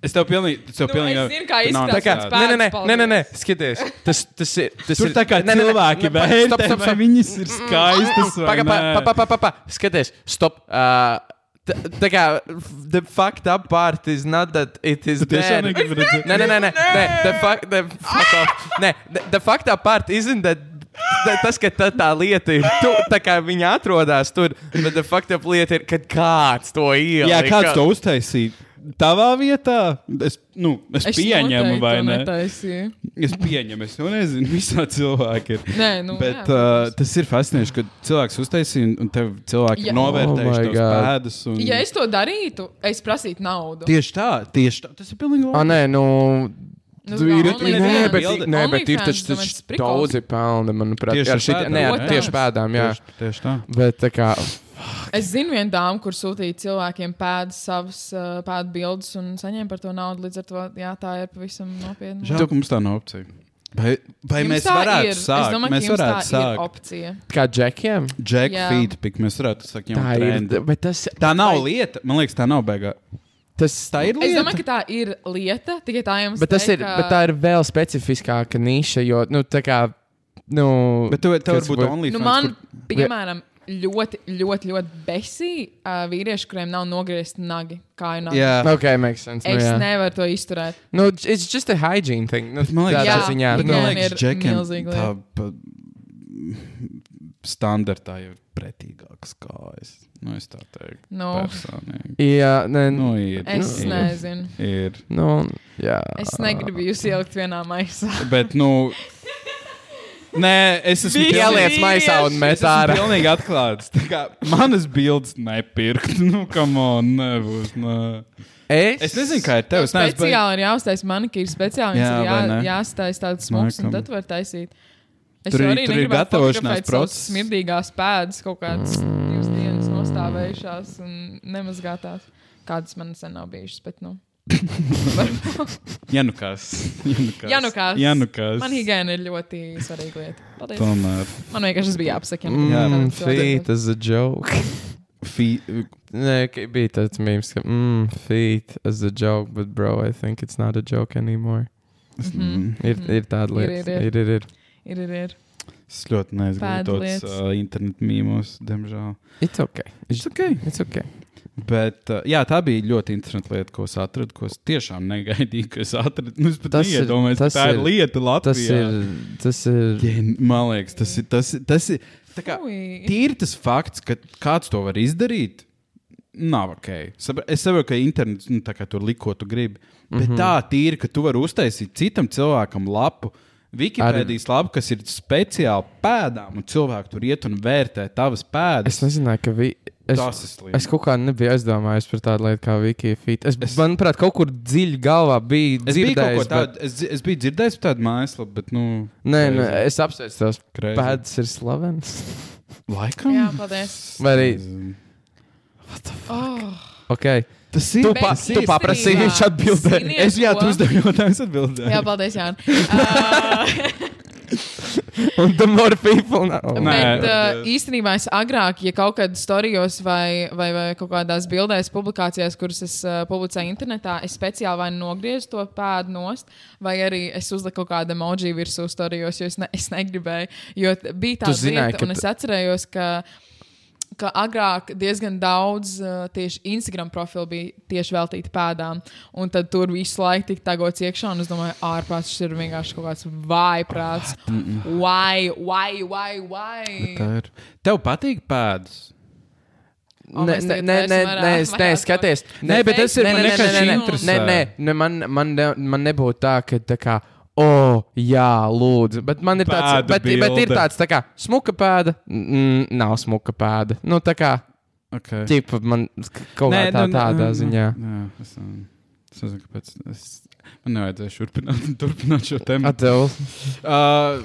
Es tev pilnīgi. es Tev
Nu,
pilnīgi
es zinu, kā
tur nav
izskatās
Tā kā,
nekas tāds.
tāds
nē, nē, nē,
Pēc
nē, nē, nē,
paldies.
skaties. Tas, tas ir. Tas
Tur
ir
tā kā
nē, nē, nē,
cilvēki
nē, pa-
vērtē,
stop, stop, Mm,
vai
stop.
viņas ir skaistas vai
Pagaid,
nē.
pagaid, pagaid, pagaid. Skaties, stop. Uh, t- tā kā the fucked up part is not that it is
Tiešām
bad.
negribu redzēt.
Nē, nē, nē, nē, nē, the fuck, the fuck off. Nē, the, the fucked up part isn't that. ta- Tas, ka tā, tā lieta ir, tu, tā kā viņi atrodas tur, bet the fucked up lieta ir, kad kāds to ielika.
Jā, kāds to uztaisīja? Tavā vietā es, nu, es, es
Es
pieņemu,
noteikti
vai
to
ne?
Netaisīju.
Es pieņemu, es nu nezinu, visā cilvēkā ir.
Nē, nu,
Bet
jā,
uh,
protams.
tas ir fascinējoši, ka cilvēks uztaisīja un- un tev cilvēki
Ja-
ja. novērtē
Oh my
oh
God.
pēdas. Un...
Ja es to darītu, es prasītu naudu.
Tieši tā, tieši tā. Tas ir pilnīgi
A,
labi.
nē, nu.
Nu,
tu
kā
ir-
OnlyFans.
nē, bet,
Bilde.
nē, bet ir
OnlyFans,
taču
domāju, tas
taču
prikols.
daudzi pelni, manuprāt.
Tieši
ar
ar
šitiem-
pēdām,
nē, ar
jā.
tieši pēdām, jā.
Tieši, tieši tā.
Bet tā kā.
Es zinu vienu dāmu, kur sūtīja cilvēkiem pēdas, savas uh, pēdas bildes un saņēma par to naudu. Līdz ar to jā, tā ir pavisam nopietna.
Žēl, ka mums tā nav opcija. Vai, vai
Jums
mēs
tā
varētu
ir.
sākt?
Es domāju,
mēs
ka jums
varētu
tā ir
sākt.
opcija.
Kā džekiem?
Jack
Jā.
Feedback, mēs varētu sākt jau
Tā
trendu.
ir. Bet tas,
Tā nav lieta. Man liekas, tā nav beigā.
tas,
Tā ir
Es
lieta.
domāju, ka tā ir lieta. Tikai tā jums
bet tas ir.
teika-
Bet tā ir vēl specifiskāka niša, jo, nu, tā kā. Nu,
Bet tev, tev
kas
varbūt
var-
only
Nu, man, piemēram, ļoti, ļoti, ļoti besīja uh, vīrieši, kuriem nav nogriezti nagi. Kā jau
Jā.
Ok, makes sense. Nu,
Es
jā.
nevaru to izturēt.
nu, j- it's just a hygiene thing. Nu,
Bet Man liekas,
tādā
Jā,
ziņā,
bet
nu,
man
jā.
liekas,
ir
Džekiem
milzīga
tā
lieta.
pa, standartā jau ir pretīgāks kājas. Nu, es tā teiktu.
Nu,
Personīgi.
jā, nē,
Nu,
nu,
ir,
es
ir,
nezinu.
Ir.
nu, jā.
Es negribu jūs ielikt vienā maisā.
Bet, nu. Nē, es esmu
Visi
pilnīgi-
Ieliec maisā un
Es
met
esmu
ārā.
pilnīgi atklāts. Tā Kā, manas bildes nepirkt. Nu, kam on, nebūs. Nē. Es nezinu, kā ir tev. Es neesmu beig-
speciāli ir jāuztais manikīrs, speciāli jā,
Jā,
jā,
vai ne?
jāuztais tāds smūgs,
Laikam.
un tad var taisīt. Es
Tur
jau
ir-
arī
tur ir
negribētu
gatavošanās
fotografēt savas
process.
Smirdīgās pēdas kaut kādas divas dienas nostāvējušās un nemazgātās. Kādas man sen nav bijušas, bet nu.
Ja nu kas.
Ja nu kāds.
Ja nu kas.
Man higiēna ir ļoti svarīga lieta. Paldies.
Tomēr.
Man vienkārši tas bija jāapsaka.
Mm, feet is a joke.
Fi...
Nē, ka bija tāds mīmīms, ka mm, feet is a joke, but bro, I think it's not a joke anymore.
Mhm.
Ir,
Mhm.
ir tāda
Ir,
lieta.
ir,
Ir, ir, ir.
Ir, ir, ir.
Es ļoti
Bad
neizglītos
lietas.
uh, internetu mīmos, diemžēl.
It's okay. It's okay. It's okay.
Bet uh, jā, tā bija ļoti interesanta lieta, ko es atradu, ko es tiešām negaidīju, ka es atradu. Nu, es pat
Tas ir-
neiedomājos, ka
tas
tā ir
ir-
lieta
Tas
Latvijā.
ir. Tas ir.
Gen- Man liekas, tas ir. Tas, ir- tas ir tā kā,
Fui.
tīri tas fakts, ka kāds to var izdarīt. Nav ok. Sabra- Es saprotu, ka internets nu, tā kā tur liko, tu gribi.
Mhm.
Bet mm -hmm. tā tīri, ka tu vari uztaisīt citam cilvēkam lapu, Wikipēdijas lapu, kas ir speciāli pēdām, un cilvēki tur iet un vērtē tavas
Es
pēdas.
nezināju, ka vi... es,
Tas ir slikti.
es kaut kā nebiju aizdomājies par tādu lietu kā Wikifeet. Es, es... Manuprāt, kaut kur dziļi galvā bija
Es biju,
dzirdējis.
kaut ko tādu, es, dzi- es biju dzirdējis par tādu mājaslapu, bet, nu,
Bet... Nē, nē, es apsveicu tos.
Crazy.
Pēdas ir slavenas.
laikam.
Jā, paldies.
Vai arī.
Nezinu.
Oh,
Okay.
Tas ir.
Tu, pa,
Bet
tu paprasīji, viņš
īstenībā
atbildēja.
ziniet
Es jā,
ko?
tu uzdevi jautājumu, es atbildēju.
Jā, paldies, Jānis. Uh,
Un the more people. Now.
Nē.
bet uh,
bet-
īstenībā es agrāk, ja kaut kādā storijos vai, vai, vai kaut kādās bildēs, publikācijās, kuras es uh, publicēju internetā, es speciāli vai nu nogriezu to pēdu nost, vai arī es uzliku kaut kādu emoji virsū storijos, jo es, ne, es negribēju. Jo t- bija tā
Tu zināji,
lieta,
ka
un
t-
es atcerējos, ka. ka agrāk diezgan daudz uh, tieši Instagram profilu bija tieši veltīti pēdām. Un tad tur visu laiku tika tagots iekšā, un es domāju, ārprāts šis ir vienkārši kaut kāds vājprāts. Why, why, why, why?
Tā ir. Tev patīk pēdas.
O,
Nē,
mēs
nē,
tagad
nē,
vairs
nē,
vairāk-
nē, es
vairāk
neskaties.
Nē, bet tas ir
Nē,
man
nē, nē,
vienkārši
nē, nē.
Nē,
interesanti.
nē, nē man, man, ne, man nebūtu tā, ka tā kā, o, jā, lūdzu. Bet man ir tāds,
Pēdu
bet, bet ir
bilde.
tāds, tā kā, smuka pēda, mm, nav smuka pēda. Nu, tā kā,
Okay.
tipa, man kaut kā
nu,
tā,
mm.
tādā ziņā.
Jā, es, um, es nezinu, kāpēc. Es, man nevajadzēja turpināt, turpināt šo tēmu. At,
Atdev.
uh,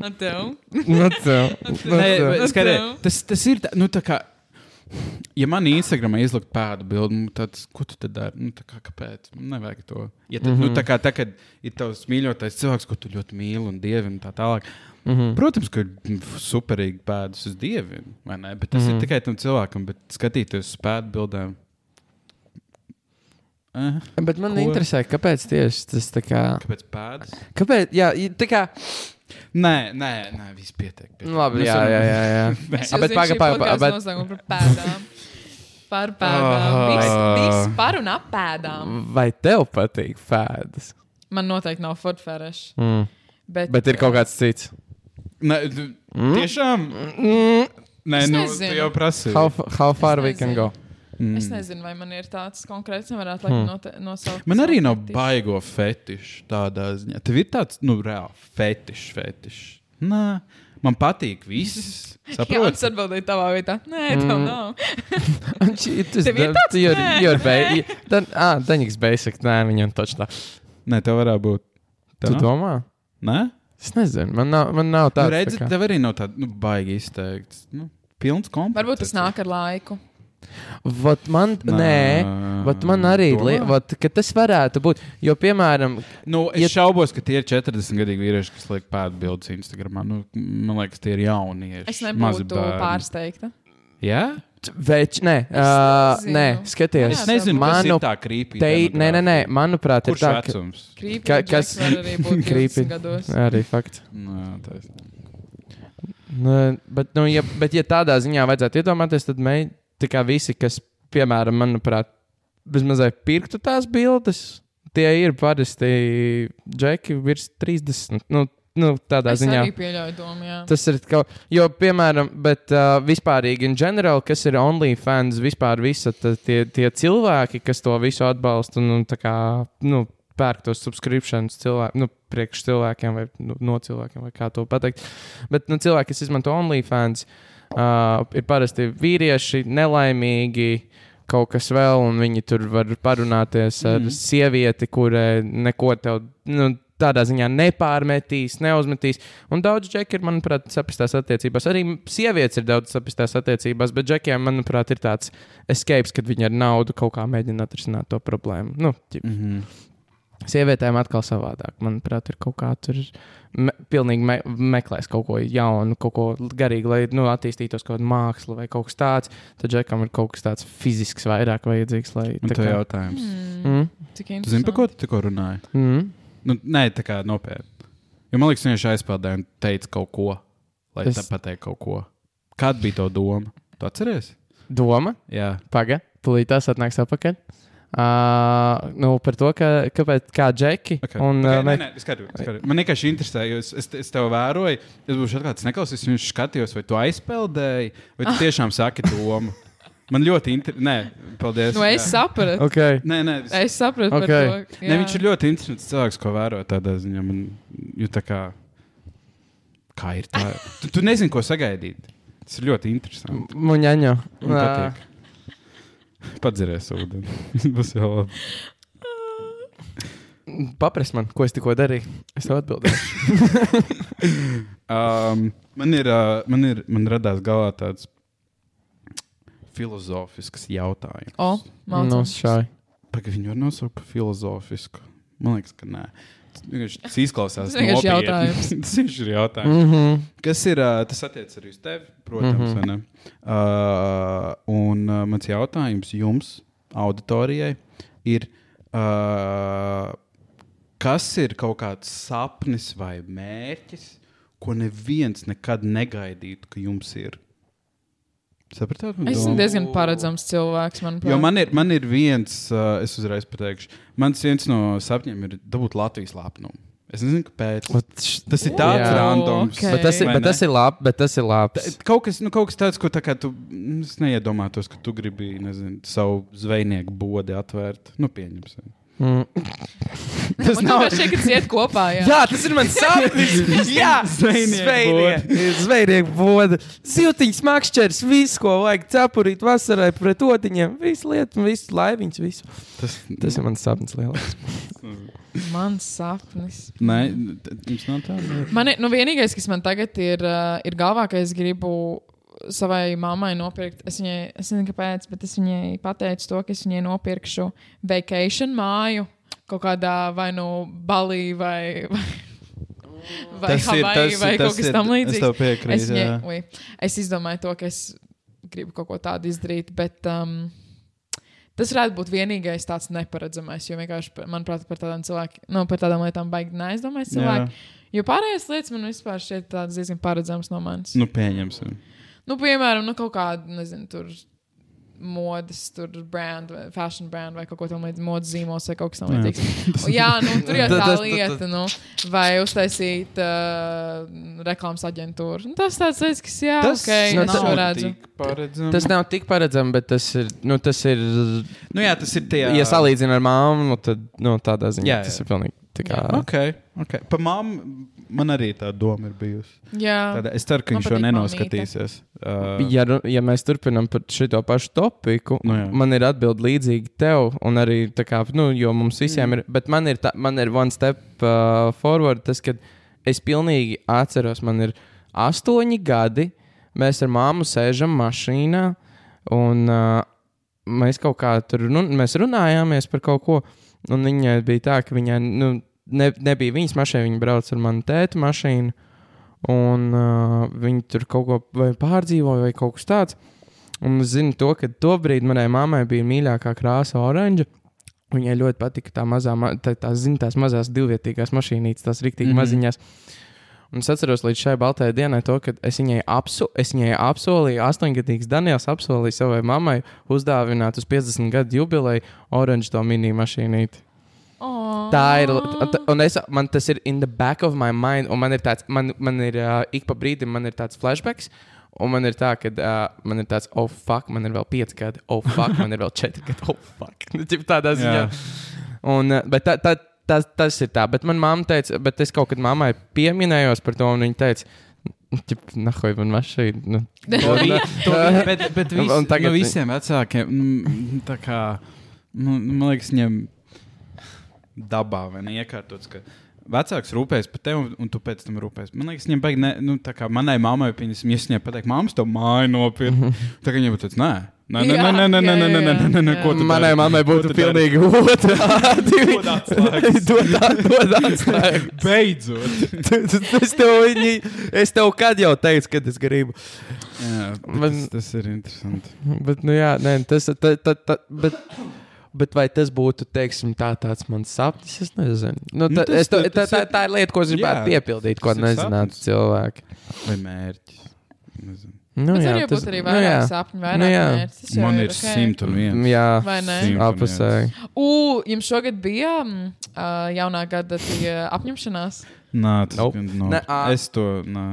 Ar tev?
Nu, tev. Nu,
nē,
tev.
es skatē,
tev.
tas, tas ir tā, nu, tā kā. Ja man Instagramā izlikt pēdu bildi, nu, tāds, ko tu tad dari? Nu, tā kā, kāpēc? Man nevajag to. Ja tad, mm -hmm.
Mhm.
nu, tā kā tagad ir tavs mīļotais cilvēks, ko tu ļoti mīli un dievi un tā tālāk. Mm
Mhm.
-hmm. Protams, ka ir mm, superīgi pēdas uz dieviem, vai ne? Bet tas mm
Mhm.
-hmm. ir tikai tam cilvēkam, bet skatīties uz pēdu bildēm. Eh.
Bet man
Ko?
interesē, kāpēc tieši tas tā kā.
Kāpēc pēdas?
Kāpēc? Jā, i- tā kā.
Nē, nē, nē viss pietiek. pietiek.
Nu, labi,
Nu,
jā,
sam-
jā, jā. jā.
Es
A,
jau
bet
zinu
paga,
šī
paga,
podkasta
bet-
nosaukumu par pēdām. Par pēdām. Viss, viss par un ap pēdām.
Vai tev patīk pēdas?
Man noteikti nav fortfēreša.
Mm.
Bet,
Bet ir kaut kāds cits.
Nē, tu-
Mm?
tiešām. Nē,
Es
nu,
nezinu.
tu jau prasīji.
How, f- how far
Es
we can
nezinu.
go?
Es nezinu, vai man ir tāds konkrēts,
Mm.
nevarētu laikam note- nosaukt.
Man arī
savu
nav
fetišu.
baigo fetišu tādā ziņā. Tev ir tāds, nu, reāli fetišs, fetišs. Nā, man patīk viss.
Jā, un es
Saprotu.
atbildēju tavā vietā. Nē, tev mm. nav.
Tas
Tev ir tāds?
You're,
Nē.
you're ba Dan, ah, Daņiks basic. Nē, viņam taču tā.
Nē, tev varētu būt.
Tu
Tev nav?
domā?
Nē,
Es nezinu. Man nav, man nav
tā
tāds.
nu, redzi,
tā kā-
tev arī nav tāds, nu, baigi izteikts. Nu, pilns kompliments.
Varbūt tas nāk ar laiku.
Vat man, nē. Vat man arī
Nu, Domā?
li- vat, ka tas varētu būt. Jo, piemēram,
Nu, es
Ja-
ja... šaubos, ka tie ir 40 gadu vīrieši, kas liek pēdas Instagram. Nu, man liekas, tie ir jaunieši.
Es
mazi
nebūtu
bērni.
pārsteigta.
Jā,
t- več, nē, uh,
nezinu.
nē, skaties.
es
Jā,
nezinu, kas
manu
ir tā krīpīga.
Te, nē, nē, nē, manuprāt, ir
Kurš
tā, ka
vecums?
Krīpīgi.
Ka- kas-
Kas var arī būt
Creepy.
20 gados?
arī fakts.
Nā, taisnība.
Nu, bet, nu, ja, bet, ja tādā ziņā vajadzētu iedomāties, tad mei, tā kā visi, kas, piemēram, manuprāt, vismaz pirktu tās bildes, tie ir parasti džeki virs 30. Nu, nu, tādā
Es
ziņā.
arī pieļauju domu, jā.
Tas ir kaut kas, jo, piemēram, bet uh, vispārīgi, in general, kas ir OnlyFans, vispār visa ta, tie, tie cilvēki, kas to visu atbalsta un, un tā kā, nu, pērk tos subscriptions cilvēkiem, nu, priekš cilvēkiem vai nu, no cilvēkiem, vai kā to pateikt. Bet, nu, cilvēki, kas izmanto OnlyFans, uh, ir parasti vīrieši, nelaimīgi. Kaut kas vēl, un viņi tur var parunāties ar mm. sievieti, kurai neko tev, nu, tādā ziņā nepārmetīs, neuzmetīs. Un daudz džeki ir, manuprāt, sapistās attiecībās. Arī sievietes ir daudz sapistās attiecībās, bet džekiem, manuprāt, ir tāds escapes, kad viņi ar naudu kaut kā mēģina atrisināt to problēmu. Nu, ķip.
Mhm.
Sievietēm atkal savādāk. Manuprāt, ir kaut kā tur me pilnīgi me meklēs kaut ko jaunu, kaut ko garīgu, lai nu, attīstītos kaut kāda māksla vai kaut kas tāds. Tad džekam ir kaut kas tāds fizisks vairāk vajadzīgs. Lai,
Man
tā
te
kā-
jautājums.
Mm,
Hmm,
Tu
Cik
zini,
interesanti.
par ko tu tikko runāji?
mm.
Nu, nē, tā kā nopietni. Jo man liekas, viņš aizpildīja un teica kaut ko, lai
Es-
es... tā pateiktu kaut ko. Kāda bija tā doma? Tu atceries?
Doma.
Jā.
Pagaidi, tūlīt tas atnāks atpakaļ. Uh, nu, par to, ka, kāpēc kā džeki.
Okay.
Un, uh,
okay,
ā,
nē, nē, es skatos, es skatos. Man vienkārši interesē, jo es, es, es tev vēroju, es būšu atklāts, neklausīšos, viņš skatījās, vai tu aizpeldēji, vai tu tiešām saki domu. Man ļoti interesē. Nē, paldies.
Nu, es
jā.
sapratu.
Okay.
Nē, nē, es...
Es sapratu par to.
Okay.
nē, viņš ir ļoti interesants cilvēks, ko vēroju tādā ziņā. Man, jo tā kā, kā ir tā? Tu, tu nezini, ko sagaidīt. Tas ir ļoti interesanti.
Muņaņo.
Man patīk. Padzirēs ūdeni. Būs jau labi.
Paprasti man, ko es tikko darīju. Es tev atbildēju.
Um, man ir, uh, man ir, man radās galvā tāds filozofisks jautājums.
O, mācās.
Nu, šai.
Pagaidām, viņi var nosaukt par filozofisku. Man liekas, ka nē. Tas vienkārši- Tas izklausās
Tas vienkārši
nopietni.
jautājums.
Tas vienkārši ir jautājums.
Mhm.
Kas ir, ā, tas attiecas arī uz tevi, protams. Mm -hmm. uh, un uh, mans jautājums jums, auditorijai, ir, uh, kas ir kaut kāds sapnis vai mērķis, ko neviens nekad negaidītu, ka jums ir? Sapratāt, man
Es esmu diezgan paredzams cilvēks, manuprāt.
Jo man ir, man ir viens, uh, es uzreiz pateikšu, mans viens no sapņiem ir dabūt Latvijas lapnumu. Es nezinu, kāpēc. Tas ir tāds
Jā.
randoms.
Ok.
Bet tas ir,
Vai
bet
ne?
tas ir labi, bet tas ir labi.
Tā- Kaut kas, nu, kaut kas tāds, ko tā kā tu mm, es neiedomātos, ka tu gribi nezinu, savu zvejnieku bodi atvērt. Nu, pieņemsim.
Mm.
Tas
Man
nav
vienkārši šķiet, ka ciet kopā. Jā.
Jā, tas ir mans sapnis. Jā,
Zvejnieku
zvejnieki. Zvejnieki voda. Siltiņš, makšķers, viss, ko vajag cepurīt vasarai pret otiņiem. Visu lietu, visu laiviņus, visu.
tas.
Tas ir mans sapnis lielāks.
Mans sapnis.
Nē, t- jums nav tāda.
Man ir nu, vienīgais, kas man tagad ir, uh, ir galvā, ka es gribu savai mammai nopirkt. Es viņai, es nezinu, kāpēc, bet es viņai pateicu to, ka es viņai nopirkšu vacation māju kaut kādā vai nu Balī vai. vai Vai
Tas ir
Havajā,
tas,
vai
tas
kaut kas
ir-
tamlīdzīgs.
es tev piekrītu,
Es, viņai-
jā.
ui, es izdomāju to, ka es gribu kaut ko tādu izdarīt, bet um, tas varētu būt vienīgais tāds neparedzamais. Jo vienkārši, par- manuprāt, par tādām, cilvēki, nu, par tādām lietām baigi neaizdomājas cilvēki.
Jā.
Jo pārējās lietas man vispār šķiet tādas diezgan paredzamas no manis. Nu,
Nu, pieņemsim.
nu piemēram, nu, kaut kāda, nezinu, tur modes, tur brand, vai fashion brand vai kaut ko tamlīdzīgu, modes zīmos vai kaut kas tamlīdzīgs. Jā, nu, tur jau tā
Tas- tas-
lieta, nu, vai uztaisīt uh, reklāmas aģentūru. Nu, tas tāds lietas, kas jā,
Tas
tas, okay,
nu,
nu, es
nav
to redzu.
Tas nav tik paredzams, bet tas ir. Nu, tas ir
Nu, jā, tas ir tie.
ja salīdzina ar māmu, nu, tad nu, tādā ziņā
Jā, jā.
tas ir pilnīgi. tā Kā,
Ok, ok. Pa mammu man arī tā doma ir bijusi.
Jā,
Tāda, es ceru, ka
Man
viņš to
patīk
nenoskatīsies. Uh,
ja, ru- ja mēs turpinām par šo pašu topiku,
Nu jā.
man ir atbilde līdzīga tev, un arī tā kā, nu, jo mums visiem ir, bet man ir, tā, man ir one step uh, forward, tas, kad es pilnīgi atceros, man ir astoņi gadi, mēs ar māmu sēžam mašīnā, un uh, mēs kaut kā tur, nu, mēs runājāmies par kaut ko, un viņai bija tā, ka viņai, nu, ne, nebija viņas mašīna, viņa brauc ar manu tēta mašīnu. Un uh, viņi tur kaut ko vai pārdzīvoja, vai kaut kas tāds. Un es zinu, to, ka to brīdi manai mammai bija mīļākā krāsa, oranža. Viņai ļoti patika tā mazā, ma- tā, tā, zin, tās mazās divvietīgās mašīnītes, tās rīktīgi mm
Mhm.
-hmm. maziņās. Un es atceros līdz šai baltajai dienai to, ka es viņai, apso, es viņai apsolīju, astoņgadīgs Daniels apsolīja savai mammai uzdāvināt uz 50 gadu jubileju oranžu to mini mašīnīti.
oh.
Tā ir. Un es, man tas ir in the back of my mind. Un man ir tāds, man, man ir uh, ik pa brīdim, man ir tāds flashbacks. Un man ir tā, ka uh, man ir tāds, oh, fuck, man ir vēl 5 gadi, oh, fuck, man ir vēl 4 gadi, oh, fuck. Nu, tip Tādā ziņā.
Jā.
Un, uh, bet tā, tā, tas, tas ir tā. Bet manā māte teica, bet es kaut kad mammai pieminējos par to, un viņa teica, Tip, nahoj, man mašīna. Nu,
To vi- to vi- bet bet
Un-
vis,
un tagad-
tagad... nu, visiem vecākiem, mm, tā kā, nu, man liekas, viņiem dabā vai ne iekārtots. Ka... Vecāks rūpēs par tevi, un- un tu pēc tam rūpēs. Man liekas, viņam baigi, ne- nu, tā kā manai mammai, piņas, ja es viņai pateiktu, māmas to māju
Mhm.
nopirkt. Tā kā viņai būtu tāds, nē, nē, nē, nē, nē, nē, nē, nē, nē, nē, nē, nē, ko tu
Mm. Manai mammai būtu pilnīgi otrādi.
Dod atslēgas.
Dod at- Dod atslēgas.
Beidzot!
es, tev, viņi, es tev kad jau teicu, kad es gribu.
Jā, bet
Man-
tas, tas ir interesanti.
Bet, nu, jā, nē, tas, ta, ta, ta, bet, bet vai tas būtu teiksim, tā, tāds mans sapnis? Es nezinu. Nu,
Nu,
ta,
tas-
nu, tas, es, tā,
tas
tā,
ir-
tā ir lieta, ko es gribētu
jā,
piepildīt, ko
tas ir
nezinātu
sapnis.
cilvēki.
Vai mērķis? Nezinu.
Nu,
Tas var jau būt arī vairāk
jā.
sapņu,
Nu,
vairāk
jā.
mērķi. Tas jau
Man ir
ok.
101.
Jā,
Vai ne?
Simt un
apusēji.
U, jums šogad bija mm, uh, jaunā gada tie uh, apņemšanās?
Nē, tas
Nope.
gan nav.
Ne, ā.
Es to nē.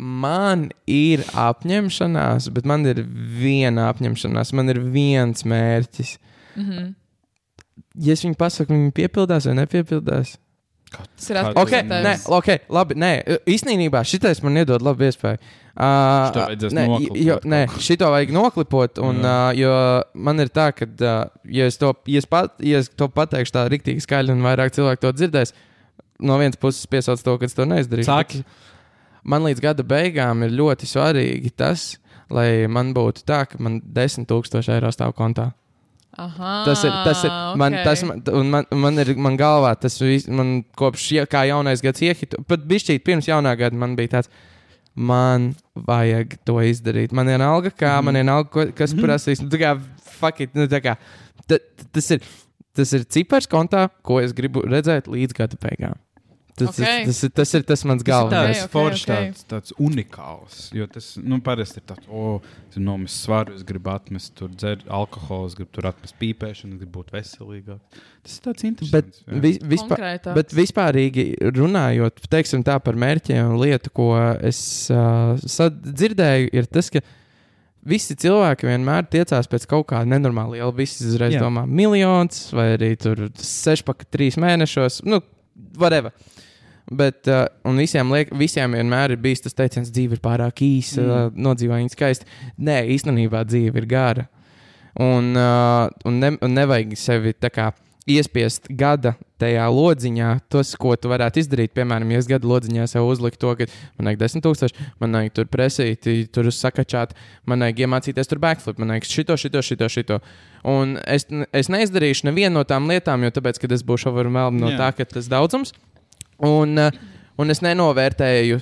Man ir apņemšanās, bet man ir viena apņemšanās, man ir viens mērķis.
Mm -hmm.
Ja es viņu pasaku, viņi piepildās vai nepiepildās?
Tas ir
Kā
atpakaļ
Ok,
Atpakaļ.
pie
nē,
tevis.
ok, labi. Nē, īstenībā šitais man iedod labu iespēju. Uh,
Šito vajadzēs
nē,
noklipot
jo,
kaut
nē, šito vajag noklipot. Un, uh, jo man ir tā, ka, uh, ja, es to, ja, es pat, ja es to pateikšu tā rīktīgi skaļi un vairāk cilvēku to dzirdēs, no vienas puses piesauc to, ka es to neizdarīšu.
Saki.
Bet Man līdz gada beigām ir ļoti svarīgi tas, lai man būtu tā, ka man 10,000 eiro stāv kontā.
Aha,
Tas ir, tas ir, man,
Ah, ok.
tas man, un man, man ir, man galvā tas viss, man kopš, ja, kā jaunais gads iehitu, pat bišķīt pirms jaunā gada man bija tāds, man vajag to izdarīt. Man ir alga, kā, mm. man ir alga, ko- kas mm. prasīs, nu, tā kā, fuck it, nu, tā kā, ta, ta, tas ir, tas ir cipars kontā, ko es gribu redzēt līdz gada beigām. Tas,
Ok.
okay. tas, tas, ir, tas ir tas mans galvenais.
Tas ir
Ok, ok,
tāds foršs,
ok.
tāds, tāds unikāls. Jo tas nu, parasti ir tāds, o, es gribu nomest svaru, es gribu atmest tur dzert alkoholu, es gribu tur atmest pīpēšanu, es gribu būt veselīgāk. Tas ir tāds
Bet,
interesants. jā.
vi, vispār,
Konkrētāks.
Bet vispār runājot teiksim, tā, par mērķiem un lietu, ko es uh, sad- dzirdēju, ir tas, ka visi cilvēki vienmēr tiecās pēc kaut kā nenormāla liela. Visi uzreiz
Jā.
Jā. domā, miljons vai arī tur sešpaka trīs mēnešos, nu, whatever. Bet, uh, un visiem, liek, visiem vienmēr ir bijis tas teiciens, dzīve ir pārāk īsa, mm. uh, nodzīvot viņa skaisti. Nē, īstenībā dzīve ir gara. Un, uh, un, ne, un nevajag sevi tā kā iespiest gada tajā lodziņā, tos, ko tu varētu izdarīt. Piemēram, ja es gada lodziņā sev uzliku to, ka man vajag 10,000, man vajag tur presīt, tur sakačāt, man vajag iemācīties tur backflip, man vajag šito, šito, šito. šito. Un es, es neizdarīšu nevienu no tām lietām, jo tāpēc, kad es būšu overwhelmed no
Jā.
yeah. tā, ka tas daudzums. Un, eh, un es nenovērtēju.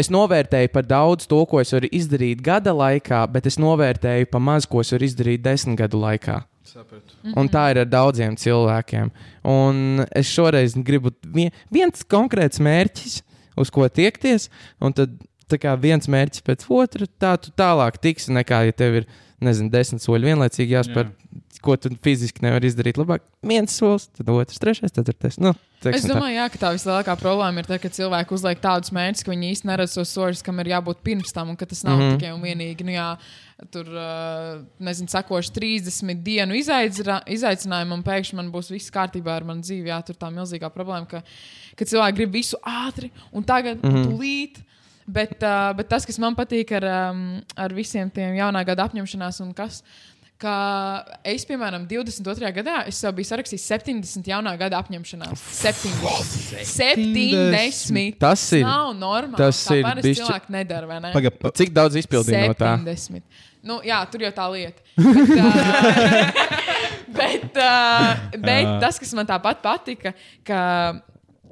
Es novērtēju par daudz to, ko es varu izdarīt gada laikā, bet es novērtēju par maz, ko es varu izdarīt desmit gadu laikā.
Sapratu.
Un tā ir ar daudziem cilvēkiem. Un es šoreiz gribu vien, viens konkrēts mērķis, uz ko tiekties, un tad tā kā viens mērķis pēc otra, tā tu tālāk tiksi nekā, ja tev ir, nezinu, desmit soļi vienlaicīgi jāspēr, Jā. ko tu fiziski nevari izdarīt labāk. Viens solis, tad otrs, trešais, ceturtais. Nu,
Es
teiksim tā.
domāju, jā, ka tā vislielākā problēma ir tā, ka cilvēki uzliek tādus mērķus, ka viņi īstenībā neredz tos soļus, kam ir jābūt pirms tam, un ka tas nav
Mhm.
mm -hmm. tikai un vienīgi. Nu, jā, tur, ā, nezinu, sakošu 30 dienu izaicira- izaicinājumu, un pēkšņi man būs viss kārtībā ar manu dzīvi. Jā, tur tā milzīgā problēma, ka, ka cilvēki grib visu ātri un tagad, mm
Mhm.
-hmm. tūlīt. Bet, uh, bet tas, kas man patīk ar, um, ar visiem tiem jaunā gada apņemšanās, un kas, ka es, piemēram, 22. gadā, es jau biju sarakstījis 70 jaunā gada apņemšanās. 70. 70.
Tas ir.
Nav normāli.
Tas
tā
ir
pāris
bišķi-
cilvēki nedara, vai ne?
Paga, pa,
Cik daudz izpildīja no tā?
70. Nu, jā, tur jau tā lieta. Bet, uh, bet, uh, bet tas, kas man tāpat patika, ka,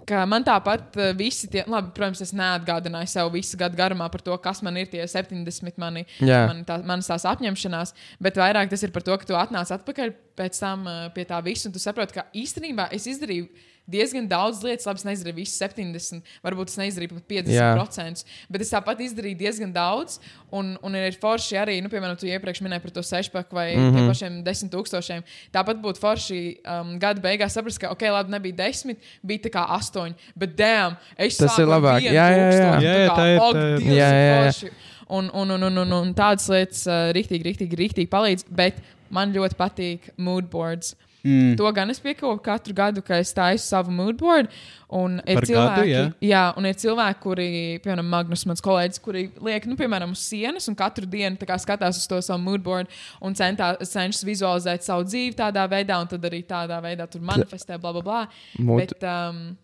ka man tāpat uh, visi tie, labi, protams, es neatgādināju sev visu gadu garumā par to, kas man ir tie 70 mani,
Jā.
mani tā, manas tās apņemšanās, bet vairāk tas ir par to, ka tu atnāc atpakaļ pēc tam uh, pie tā visa, un tu saproti, ka īstenībā es izdarīju. Diezgan daudz lietas, labi, es neizdarīju visu 70, varbūt es neizdarīju pat 50%.
Jā.
procentus. Bet es tāpat izdarīju diezgan daudz, un, un ir forši arī, nu, piemēram, tu iepriekš minēji par to sešpaku vai mm
Mhm.
-hmm. pašiem desmit tūkstošiem. Tāpat būtu forši um, gada beigās saprast, ka, ok, labi, nebija desmit, bija tā kā astoņi, bet dēm, es
Tas
sāku
ir
ar
labāk.
vienu
Jā, jā, jā.
tūkstošu,
Jā,
tā
jā,
kā,
tā ir,
ak,
tā ir.
Dievs,
Jā, jā, jā.
forši. Un, un, un, un, un, un tādas lietas uh, rīktīgi, rīktīgi, rīktīgi palīdz. Bet man ļoti patīk mood boards. Mm.
Mhm.
To gan es piekopu katru gadu, kad es taisu savu mood board. Un ir
Par gadu,
cilvēki,
jā?
Jā, un ir cilvēki, kuri, piemēram, Magnus, mans kolēģis, kuri liek, nu, piemēram, uz sienas un katru dienu tā kā skatās uz to savu moodboard un centā, cenšas vizualizēt savu dzīvi tādā veidā, un tad arī tādā veidā tur manifestē, bla, bla, bla.
Mood-
Bet, um,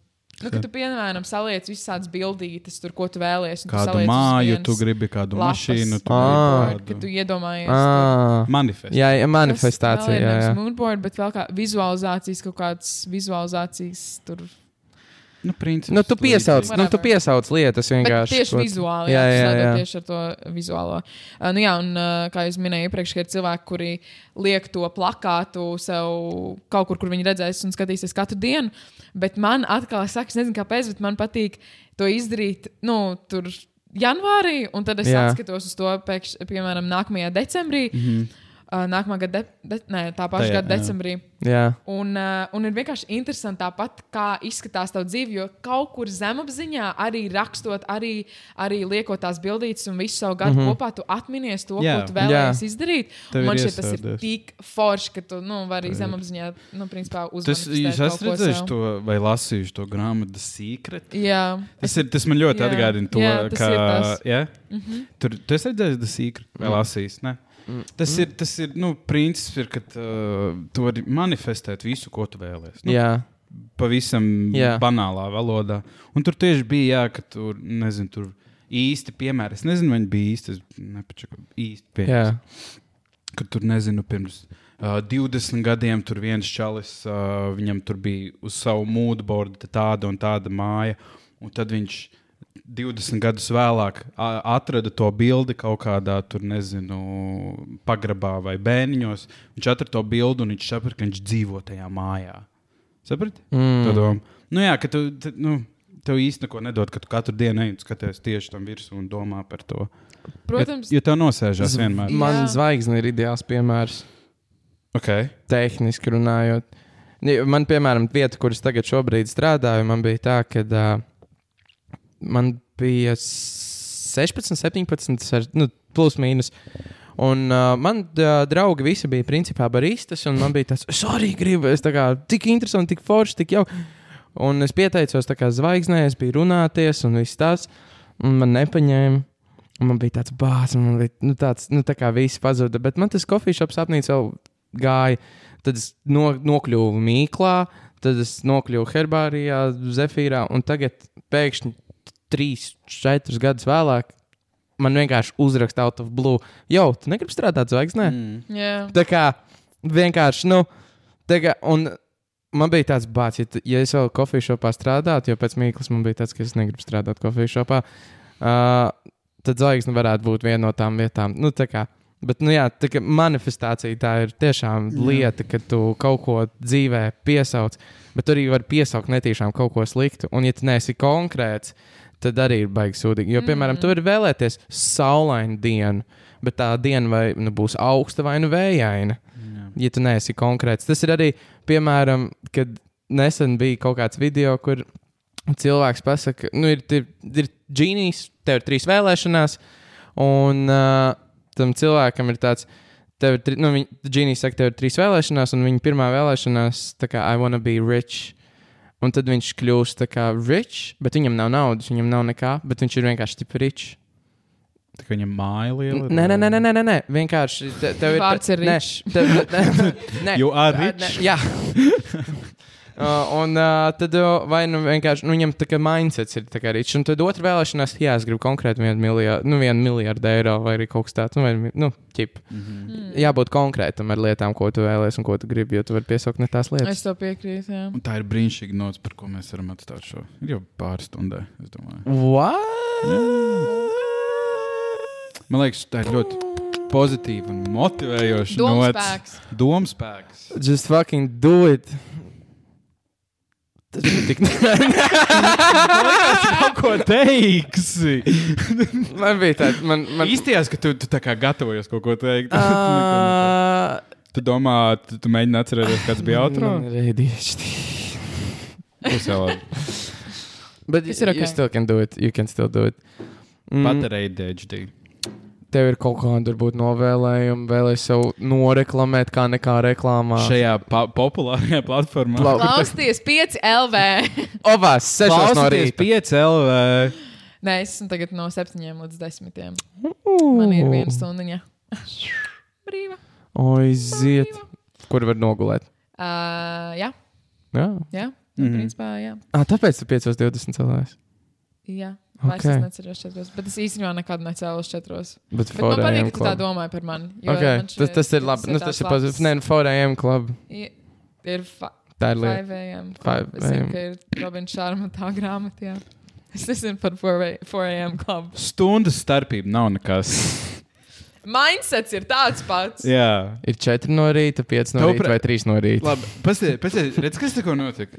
nu, kad tu, piemēram, saliec visādas bildītes, tur, ko tu vēlies, un tu
kādu
saliec uz
māju
vienas
tu gribi, kādu
lapas.
mašīnu tu
Ā.
gribi.
moodboard, ka tu
kādu-
iedomājies. tur.
Ah,
Manifest.
jā, jā,
Tas vēl
manifestācija.
ir
Jā,
nevis
jā.
moodboard, bet vēl kā vizualizācijas, kaut kādas vizualizācijas tur.
Nu, princips,
Nu, tu piesauc,
līdzīgi.
nu, tu
Whatever.
piesauc lietas
Bet
vienkārši.
tieši
ko-
vizuāli, jā,
Jā, jā,
jā,
jā.
tieši ar to vizuālo. Uh, nu, jā, un uh, kā jau minēju iepriekš, ka ir cilvēki, kuri liek to plakātu sev kaut kur, kur viņi redzēs un skatīsies katru dienu. Bet man atkal, es, saku, es nezinu, kāpēc, bet man patīk to izdarīt. Nu, tur, Janvārī, un tad es
Jā.
jā. atskatos uz to, pēkš, piemēram, nākamajā decembrī, mm
Mhm.
-hmm. uh, nākamā gada, de de nē, tā paša
Tajā,
gada
jā.
decembrī.
Jā.
Un, uh, un ir vienkārši interesanti tāpat, kā izskatās tavs dzīve, jo kaut kur zemapziņā, arī rakstot, arī, arī liekot tās bildītas un visu savu gadu mm -hmm. kopā, tu atminies to,
Mhm. Jā.
ko tu vēlējies izdarīt.
Tev
Un Man
ir
šķiet, tas ir
iesēdies.
tik forši, ka tu nu, vari zemapziņā, nu,
Tas,
principā, uzmanīt.
jūs esat redzējuši to vai lasījuši to grāmatu The Secret?
Jā,
Tas, ir, tas man ļoti
Jā.
atgādina to,
Jā, tas
ka.
ir tas.
Jā, mm -hmm.
Mhm.
tur tu esi redzējis, tas īkri vai
Mm.
lasījis. Ne? Tas ir, tas ir nu, princips, ir, ka uh, tu vari manifestēt visu, ko tu vēlēsies. Nu,
jā.
pavisam
Jā.
banālā valodā. Un tur tieši bija, jā, ka tur, nezinu, tur īsti piemēri. Es nezinu, vai viņi bija īsti. Es nepačaku īsti piemēri.
Jā.
Kad tur nezinu, pirms uh, 20 gadiem tur viens čalis, uh, viņam tur bija uz savu mūžbordu tāda un tāda māja. Un tad viņš 20 gadus vēlāk a- atrada to bildi kaut kādā, tur nezinu, pagrabā vai bērniņos. Viņš atrada to bildi un viņš saprata, ka viņš dzīvo tajā mājā. Saprati? Mm. Tā doma. Nu, jā, ka tu, tu, nu, tev īsti neko nedod, ka tu katru dienu ej un skaties tieši tam virsū un domā par to.
Protams,
jo, jo tev nosēžas vienmēr.
Man
Jā.
zvaigzne ir ideāls piemērs.
Okay.
tehniski runājot. Ni- Man, piemēram, vieta, kuras tagad šobrīd strādāju, man bija tā, ka uh, man bija 16, 17, seš- nu, plus mīnus. Un uh, man uh, draugi visi bija principā baristas, un man bija tāds, es arī gribu, es tā kā tik interesanti, tik forši, tik jauki. Un es pieteicos tā kā zvaigznē, es biju runāties un viss tas, un man nepaņēma. Un man bija tāds bāzes, man bija nu, tāds, nu, tā kā viss pazuda. Bet man tas kofīšops apnīca vēl gāja. Tad es no, nokļuvu Mīklā, tad es nokļuvu Herbārijā, Zefīrā, un tagad pēkšņi trīs, četrus gadus vēlāk man vienkārši uzraksta out of blue. Jau, tu negribi strādāt zvaigznē? Mm.
jā.
Tā kā vienkārši, nu, tā kā, un man bija tāds bācis, ja, tu- ja es vēl kofīšopā strādātu, jo pēc mīklas man bija tāds, ka es negribu strādāt kofīšopā, uh, tad zvaigzne varētu būt viena no tām vietām. Nu, tā kā, bet, nu, jā, tā kā manifestācija tā ir tiešām lieta, ka tu kaut ko dzīvē piesauc, bet tu arī var piesaukt netīšām kaut ko sliktu, un ja tu neesi konkrēts. Tad arī ir baigi sūdīgi. Jo, piemēram, tu vari vēlēties saulainu dienu, bet tā diena vai, nu, būs augsta vai nu vējaina ja tu neesi konkrēts. Tas ir arī, piemēram, kad nesen bija kaut kāds video, kur cilvēks pasakā, nu, ir, ir, ir ģīnijs, tev ir trīs vēlēšanās, un uh, tam cilvēkam ir tāds. Tev ir, tri- nu, viņa ģīnijs saka, tev ir trīs vēlēšanās, un viņa pirmā vēlēšanās, tā kā I wanna be rich. Un tad viņš kļūst tā kā rich, bet viņam nav naudas, viņam nav nekā, bet viņš ir vienkārši tik rich.
Tā kā viņam māja liela.
Nē, nē, nē, nē, nē, nē, nē, vienkārši te, tev ir.
Vārds ir
nē,
rich.
tev, nē, nē,
You are
Ā,
rich.
nē, Jā. Uh, un uh, tad uh, vai nu vienkārši nu, viņam tā kā mindsets ir tā kā rīčs. Un tad otrā vēlēšanās, jā, es gribu konkrēti vienu miljardu, nu, vienu miljardu eiro vai arī kaut kas tāds. Nu, vai, mi- nu, ķip.
Mhm.
Mm.
Jābūt konkrētam ar lietām, ko tu vēlēsies un ko tu gribi, jo tu vari piesaukt ne tās lietas.
Es to piekrītu. Jā.
Un tā ir brīnišķīga nots, par ko mēs varam atstāt šo. Ir jau pāris stundas, es domāju.
What?
Man liekas, Mm. tā ir ļoti pozitīva un motivējoša nots.
Domāts.
Domspēks.
Just fucking do it. Tas bija tik
Ko teiksi?
Man bija tāds, man,
Man
man
īstījās, ka tu, tu tā kā gatavojies kaut ko teikt. Uh...
Uh,
tu domā, tu, tu mēģini atcerēties, kāds bija autors.
ADHD.
Tas jau labi.
But
It's
you,
okay.
you still can do it. You can still do it. Mm,
Patarēji DHD.
Tev ir kaut kāda varbūt novēlējuma, vēlēs sev noreklamēt, kā nekā reklāmā.
Šajā pa populārajā platformā.
Plau-
Klausieties, 5 LV.
Ovās, sešos no
Klausieties
rīta.
5 LV.
Nē, es esmu tagad no 7 līdz 10. Man ir viena stundiņa. Brīva.
Oi, ziet. Kur var nogulēt?
Uh, jā,
Jā.
jā. Mm -hmm.
Mhm.
principā, jā.
Ah, tāpēc tu 5.20 cilvēks.
jā.
Ok.
Vairs okay. es neceros četros, bet es īstenībā nekad necēlos četros.
Bet
Bet man patīk,
forējiem
ka tu tā
klub.
domāji par mani. jo
Okay.
man šķiet,
Tas, tas ir
ka
labi. Nu, tas
tāds
ir pozitīvs. Nē, forējiem klub.
I- Ir fa
Tā ir lieta.
5 a.m.
Five
Es zinu,
a.m..
ka ir Robins Šārma tā grāmata. Jā. Es nezinu par 4 a- 4 a.m. klubu.
Stundas starpība nav nekas.
Mindsets ir tāds pats.
Jā.
Ir 4 no rīta, 5 no
Tev
rīta
pre-
vai 3 no rīta.
Labi, paskatieties, paskatieties, redz, kas tikko notika.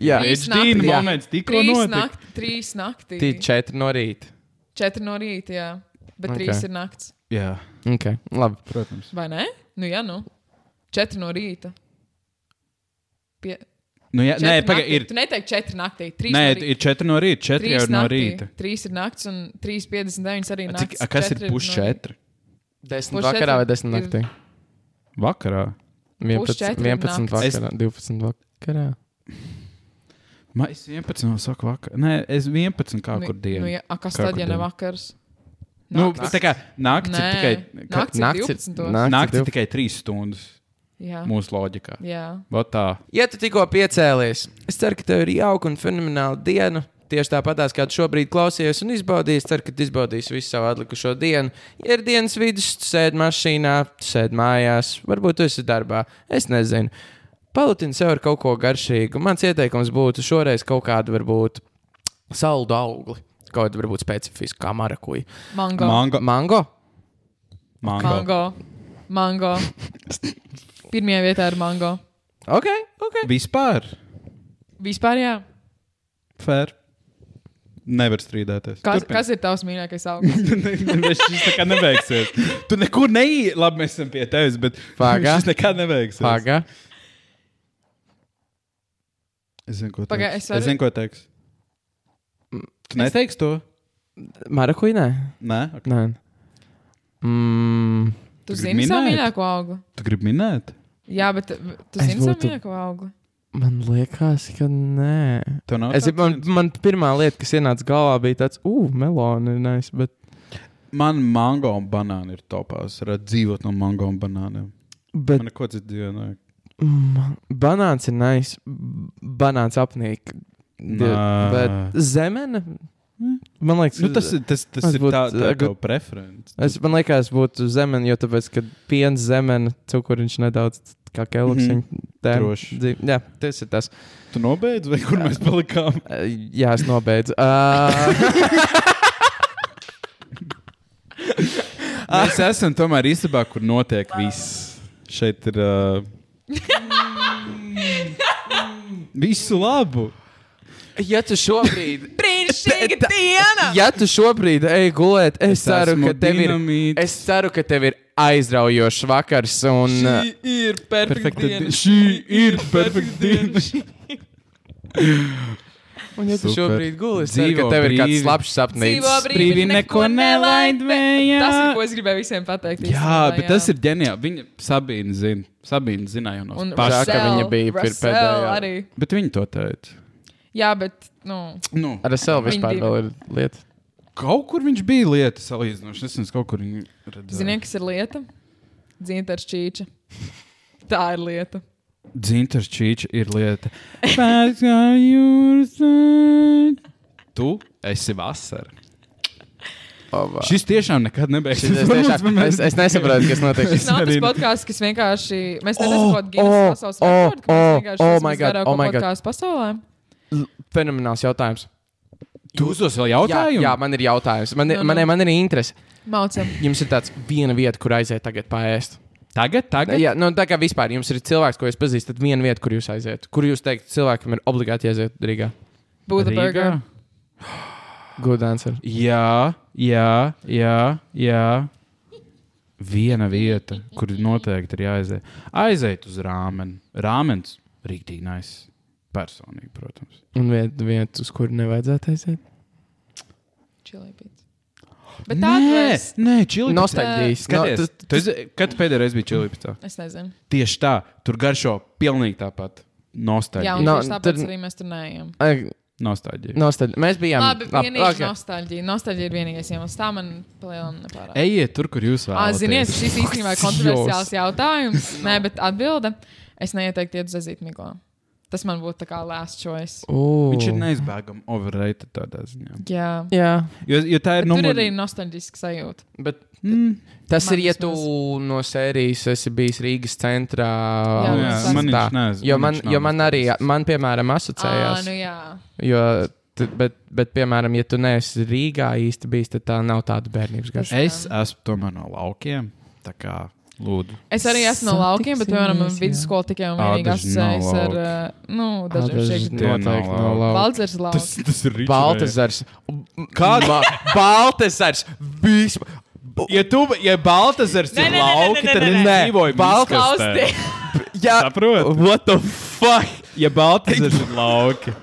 Jā,
Trīs
Dīna
nakti.
moments tikko
Trīs
notika.
nakti, trīs nakti.
Tī 4 no rīta.
Četri no rīta, jā. Bet
Ok.
okay. trīs ir nakts.
Jā,
Okay. Labi.
protams.
Vai ne? Nu, jā, nu. Četri no rīta. Pie...
Nu, jā, nē,
četri
pagaidi,
naktī.
ir.
Tu neteiksi četri naktī. Trīs
Nē,
no
t-
rīta.
ir četri no rīta, četri jau
Trīs
ir no
naktī.
rīta.
Trīs ir nakts un 3,59 arī
A,
naktas.
Cik, a, kas ir
Četri
puš
no rīta.
četri?
10
Puš
vakarā vai
četri
10
ir-
naktī?
Vakarā.
11,
četri
11
nakts.
vakarā, 12 vakarā.
Ma, es 11 no saku vakarā. Nē, es 11 kā
Nu,
kur dienu.
Nu, jā, a, kas
Kā
tad,
kur
ja ne
dienu?
vakars?
Nu,
Nakts.
tā kā nakts ir
Nē,
tikai, ka,
nakts ir
nakts ir-
12.
nakts ir
nakts ir
12.
tikai 3 stundas
Jā.
mūsu loģikā.
jā.
Vot tā.
Ja tu tikko piecēlies, es ceru, ka tev ir jauka un fenomenāla diena. Tieši tāpatās, kā tu šobrīd klausies un izbaudīsi, ceru, ka tu izbaudīsi visu savu atlikušo dienu. Ja ir dienas vidus, tu sēdi mašīnā, tu sēdi mājās, varbūt tu esi darbā. Es nezinu. Palutini sev ar kaut ko garšīgu. Mans ieteikums būtu šoreiz kaut kādu, varbūt, saldu augli. Kaut kādu, varbūt, specifisku, kā marakuju.
Mango.
Mango.
Mango?
Mango.
Mango. Mango. Pirmajā vietā ir mango.
Ok, ok.
Vispār.
Vispār jā.
Fair. Nevar strīdēties.
Kas,
Turpini.
kas ir tavs mīļākais augsts?
Viņš šis nekad nebeigsies. Tu nekur neej, labi, mēs esam pie tevis, bet
Pagā.
šis nekad nebeigsies.
Paga.
Es zinu, ko teiks. Paga,
Pagā, es
es,
varu-
varu... es zinu, ko teiks. Tu neteiksi to?
Marakuju? Nē,
Nē, okay.
nē. Mm.
Tu
Tu gribi
zini savu
minēt?
mīļāko augli.
tu gribi minēt.
Jā, bet tu
Es
zini savu
būtu-
mīļāko augli.
Man liekas, ka nē.
Tev nav
Es,
tāds
man,
viens?
man pirmā lieta, kas ienāca galvā, bija tāds, uh, melona ir nice, bet
man mango un banāni ir topā. Es varētu dzīvot no mango un banāniem.
Bet
Man neko citu dzīvē nav.
mm, banāns ir nice. B- Banāns apnīk. Die-
Nā.
Bet zemene. Man liekas,
Nu, tas, ir- tas, tas
Tas
ir
būtu,
tāds tā,
eh,
tā tavs preference.
Es, man liekas, būtu zemene, jo tāpēc, ka piens zemene, cukuriņš nedaudz kā kelks.
Mhm.
Mm
Droši.
-hmm. Jā, tas ir tas.
Tu nobeidz, vai kur mēs palikām?
Eh, Jā, es nobeidzu. Uh,
Mēs esam tomēr īstenībā, kur notiek viss. Šeit ir. Uh, visu labu!
ja tu šobrīd.
Brīnišķīga diena!
Ja tu šobrīd ej gulēt, es, es ceru,
esmu
ka tev ir,
dinamīts.
es ceru, ka tev ir aizraujošs vakars. Un, eh,
Šī ir perfekta diena. Šī ir perfekta diena.
un ja tu
Super.
šobrīd gulēji, es ceru, ka
Dzīvo
tev ir kāds
brīvi.
labs sapnis.
Dzīvo
brīvi neko nelaid vējā.
Tas ir, ko es gribēju visiem pateikt.
Jā,
īstenībā,
bet tas ir ģeniāli. Viņa Sabīna zina. Sabīna zināja no
Un
paša,
paša.
ka
Russell,
viņa bija pir-
Russell
pēdējā.
Arī.
Bet viņa to teica.
Jā, bet, nu,
Nu,
Ar sevi vispār
Viņi divi.
vēl ir lieta.
kaut kur viņš bija lieta salīdzinoši. Es nezinu, kaut kur viņa redzēja.
zini, kas ir lieta? Dzīvot ar šķīča. Tā ir lieta.
Dzintars Čīčs uh, ir lieta. Pēc kā jūs esat? Tu esi vasara.
Ovā.
Šis tiešām nekad nebeigsies.
Es, tiešām, es, es nesaprotu, kas notiek.
Tas nav tas
Arī-
podkāsts, kas vienkārši. Mēs neesam
Oh,
oh, kaut kādā
oh,
pasaules rekordā, ka
oh,
mēs vienkārši
oh
esam
my God,
visvairāko
oh my God.
podkāstu pasaulē.
Fenomenāls jautājums.
Tu uzdos vēl
Jā,
jautājumu?
jā, man ir jautājums. Man,
Nu,
ir-
nu.
man, ir- man ir interese.
Maucam.
Jums ir tāds viena vieta, kur aiziet tagad pāriest.
Tagad, tagad.
Jā, nu, tā kā vispār jums ir cilvēks, ko jūs pazīstat, tad viena vieta, kur jūs aiziet. Kur jūs teikt, cilvēkam ir obligāti jāiziet Rīgā?
Būtu burger.
Good answer.
Jā, jā, jā, jā. Viena vieta, kur noteikti ir jāaiziet. Aiziet uz rāmeni. Rāmenis rīktīgi nice. Personīgi, protams.
Un vieta, vieta uz kuru nevajadzētu aiziet?
Chili pizza. Bet tāda vairs.
nē, čili.
eh,
Nostalģijas. No,
Skaties,
tas-
no, tu, tu, kad pēdējā reize bija čili pitā?
Es nezinu.
Tieši tā, tur garšo pilnīgi tāpat.
Jā,
Nostalģija.
un
No,
tieši tāpēc
tad-
arī mēs tur neejam.
Ai,
Nostalģija.
Nostalģija. Mēs bijām.
Labi, vienīgi okay.
okay.
nostalģija. Nostalģija ir vienīgais iemesls. Tā man palielina nepārāk.
Ejiet tur, kur jūs
Ā,
vēlaties.
Ziniet, šis īstenībā ir kontroversiāls jautājums. Nē, bet atbilde. Es neieteiktu iet uz azīt miglā. Tas man būtu tā kā last choice.
Ū.
Viņš ir neizbēgami overrated tādā ziņā.
Jā.
Jā,
Jo, jo tā
Bet
ir
Tur
numur...
ir arī nostalģiska sajūta.
bet
Mm.
tas
Man
man ir, ja tu
vismaz.
no sērijas esi bijis Rīgas centrā.
Jā,
un
jā,
tas
man
tā.
viņš neaiz-
Jo
man
man,
viņš nav
jo man arī,
nostalģisks.
man, piemēram,
Ā,
asociējās.
nu jā.
jo, t, bet, bet, piemēram, ja tu neesi Rīgā īsti bijis, tad tā nav tāda bērnības garša.
Es esmu tomēr no laukiem. Tā kā lūdzu.
Es arī esmu no laukiem, bet, piemēram, man
Satiksimies, jā.
vidusskola tikai un
Ā,
vienīgi
daži nav
asociējas ar, ā, nu, dažiem šiem.
tie nav
noteikti no
labi.
lauka.
Valdzers
Tas,
lauks.
tas ir rīčs.
Baltasars. Kāda? Baltasars. Vispār.
Ja tu ja Baltasars
Nē,
ir
nē, nē,
lauki,
nē,
tad
nē,
es
nē,
nē.
dzīvoju
Baltas-
Baltasars.
Klausties!
Jā,
Saprotu.
What the fuck?
Ja Baltasars ir lauki.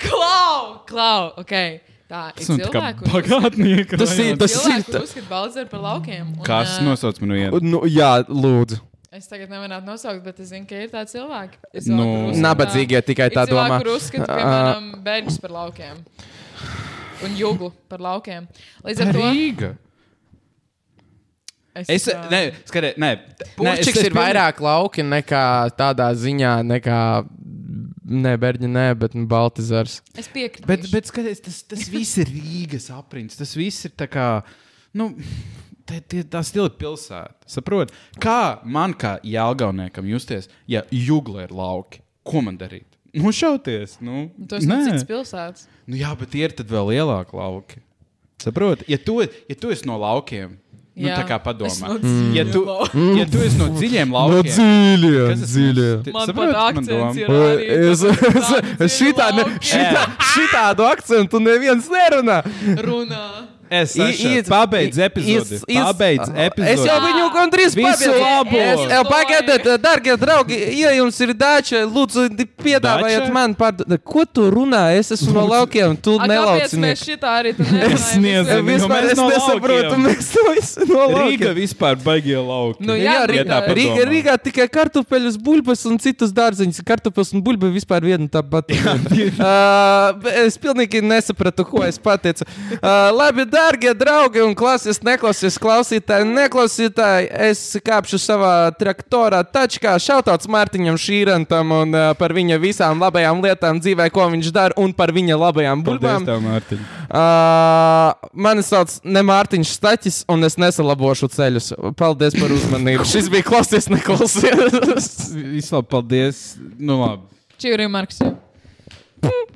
Klau! Klau! Okay. Tā ir
Tas ir tā kā
cilvēku.
bagātnieki.
Tas ir- tas-
Cilvēku,
tā-
kurš uzskata Baldzers par laukiem. Un,
Kas
ā,
nosauc man vienu?
Nu, jā, lūdzu.
Es tagad nevaru nosaukt, bet es zinu, ka ir tādi cilvēki.
Nu,
Ir cilvēki, kur uzskata-
Nabadzīgie tikai
ir
tā
cilvēki,
domā.
Kur uzskata,
Ā.
piemēram, bērns par laukiem un jūgu par laukiem. Līdz ar to
Rīga. Es,
ā,
nē, skaties, nē.
Puķis ir vairāk lauki nekā tādā ziņā, nekā Nē, Berģi, nē, bet nu, Baltizars.
Es piekrītu.
Bet, bet skaties, tas, tas viss ir Rīgas apriņķis. Tas viss ir tā kā. Nu, Tie, tie, tā stila ir pilsēta. Saprotiet, kā man, kā jēlgauniekam, justies, ja jūglē ir lauki? Ko man darīt? Nu, šauties. Nu,
Tu esi no
nē.
citas pilsētas.
Nu, jā, bet ir tad vēl lielāki lauki. Saprotiet, ja, tu- ja tu esi no laukiem, nu,
Jā.
tā kā
Es
padomā.
no dziļiem
ja, tu,
laukiem.
ja tu esi no dziļiem
No
laukiem,
dziļiem,
kas tas-
dziļiem.
Ti-
Man
saprotiet, man
pat akcents
doma?
ir arī.
Es, es, es šitā, ne, šitā,
Ē.
šitādu akcentu neviens nerunā.
Runā.
Es
I-
domāju,
iet-
ka pabeidz epizodi.
iz- iz-
Pabeidz epizodi.
Es jau viņu gandrīz
Visu
pabeidzu.
labu!
Es-
Es
eh,
to
Pagaidiet, eh, darbie draugi, ja jums ir dača, lūdzu, di- piedāvājiet
Dača?
man pārdot. Ko tu runā? Es esmu no laukiem, tu
A, kāpēc mēs
nelaucinieki.
šitā arī te
Es
nerunājam?
nezinu.
Visiem-
Jo
Vispār
mēs
es
no
nesaprotu,
laukiem.
mēs to visu no
Rīga
laukiem.
vispār baigīja lauku.
Nu, jā,
Jā,
Rīgā-
Rīgā, Rīgā,
Rīgā padomā.
Rīgā tikai kartupeļus, buļbuļs un citus dārzeņus. Kartupeļus un buļbuļs vispār viena tā pati. Uh, be- es pilnīgi nesapratu, ko es pateicu. Uh, labi, dārgie draugi un klases neklausies, klausītāji, neklausītāji. Es kāpšu savā traktorā, tačkā, šautauts Mārtiņam Šīrantam un uh, par viņa visām labajām lietām dzīvē, ko viņš dara un par viņa labajām buļbuļām.
tev, Mārtiņ.
Uh, mani sauc ne Mārtiņš Staķis, un es nesalabošu ceļus. Paldies par uzmanību. Šis bija klausies, neklausies.
Vislabāk, paldies. Nu, labi.
Čīri Marks. jau.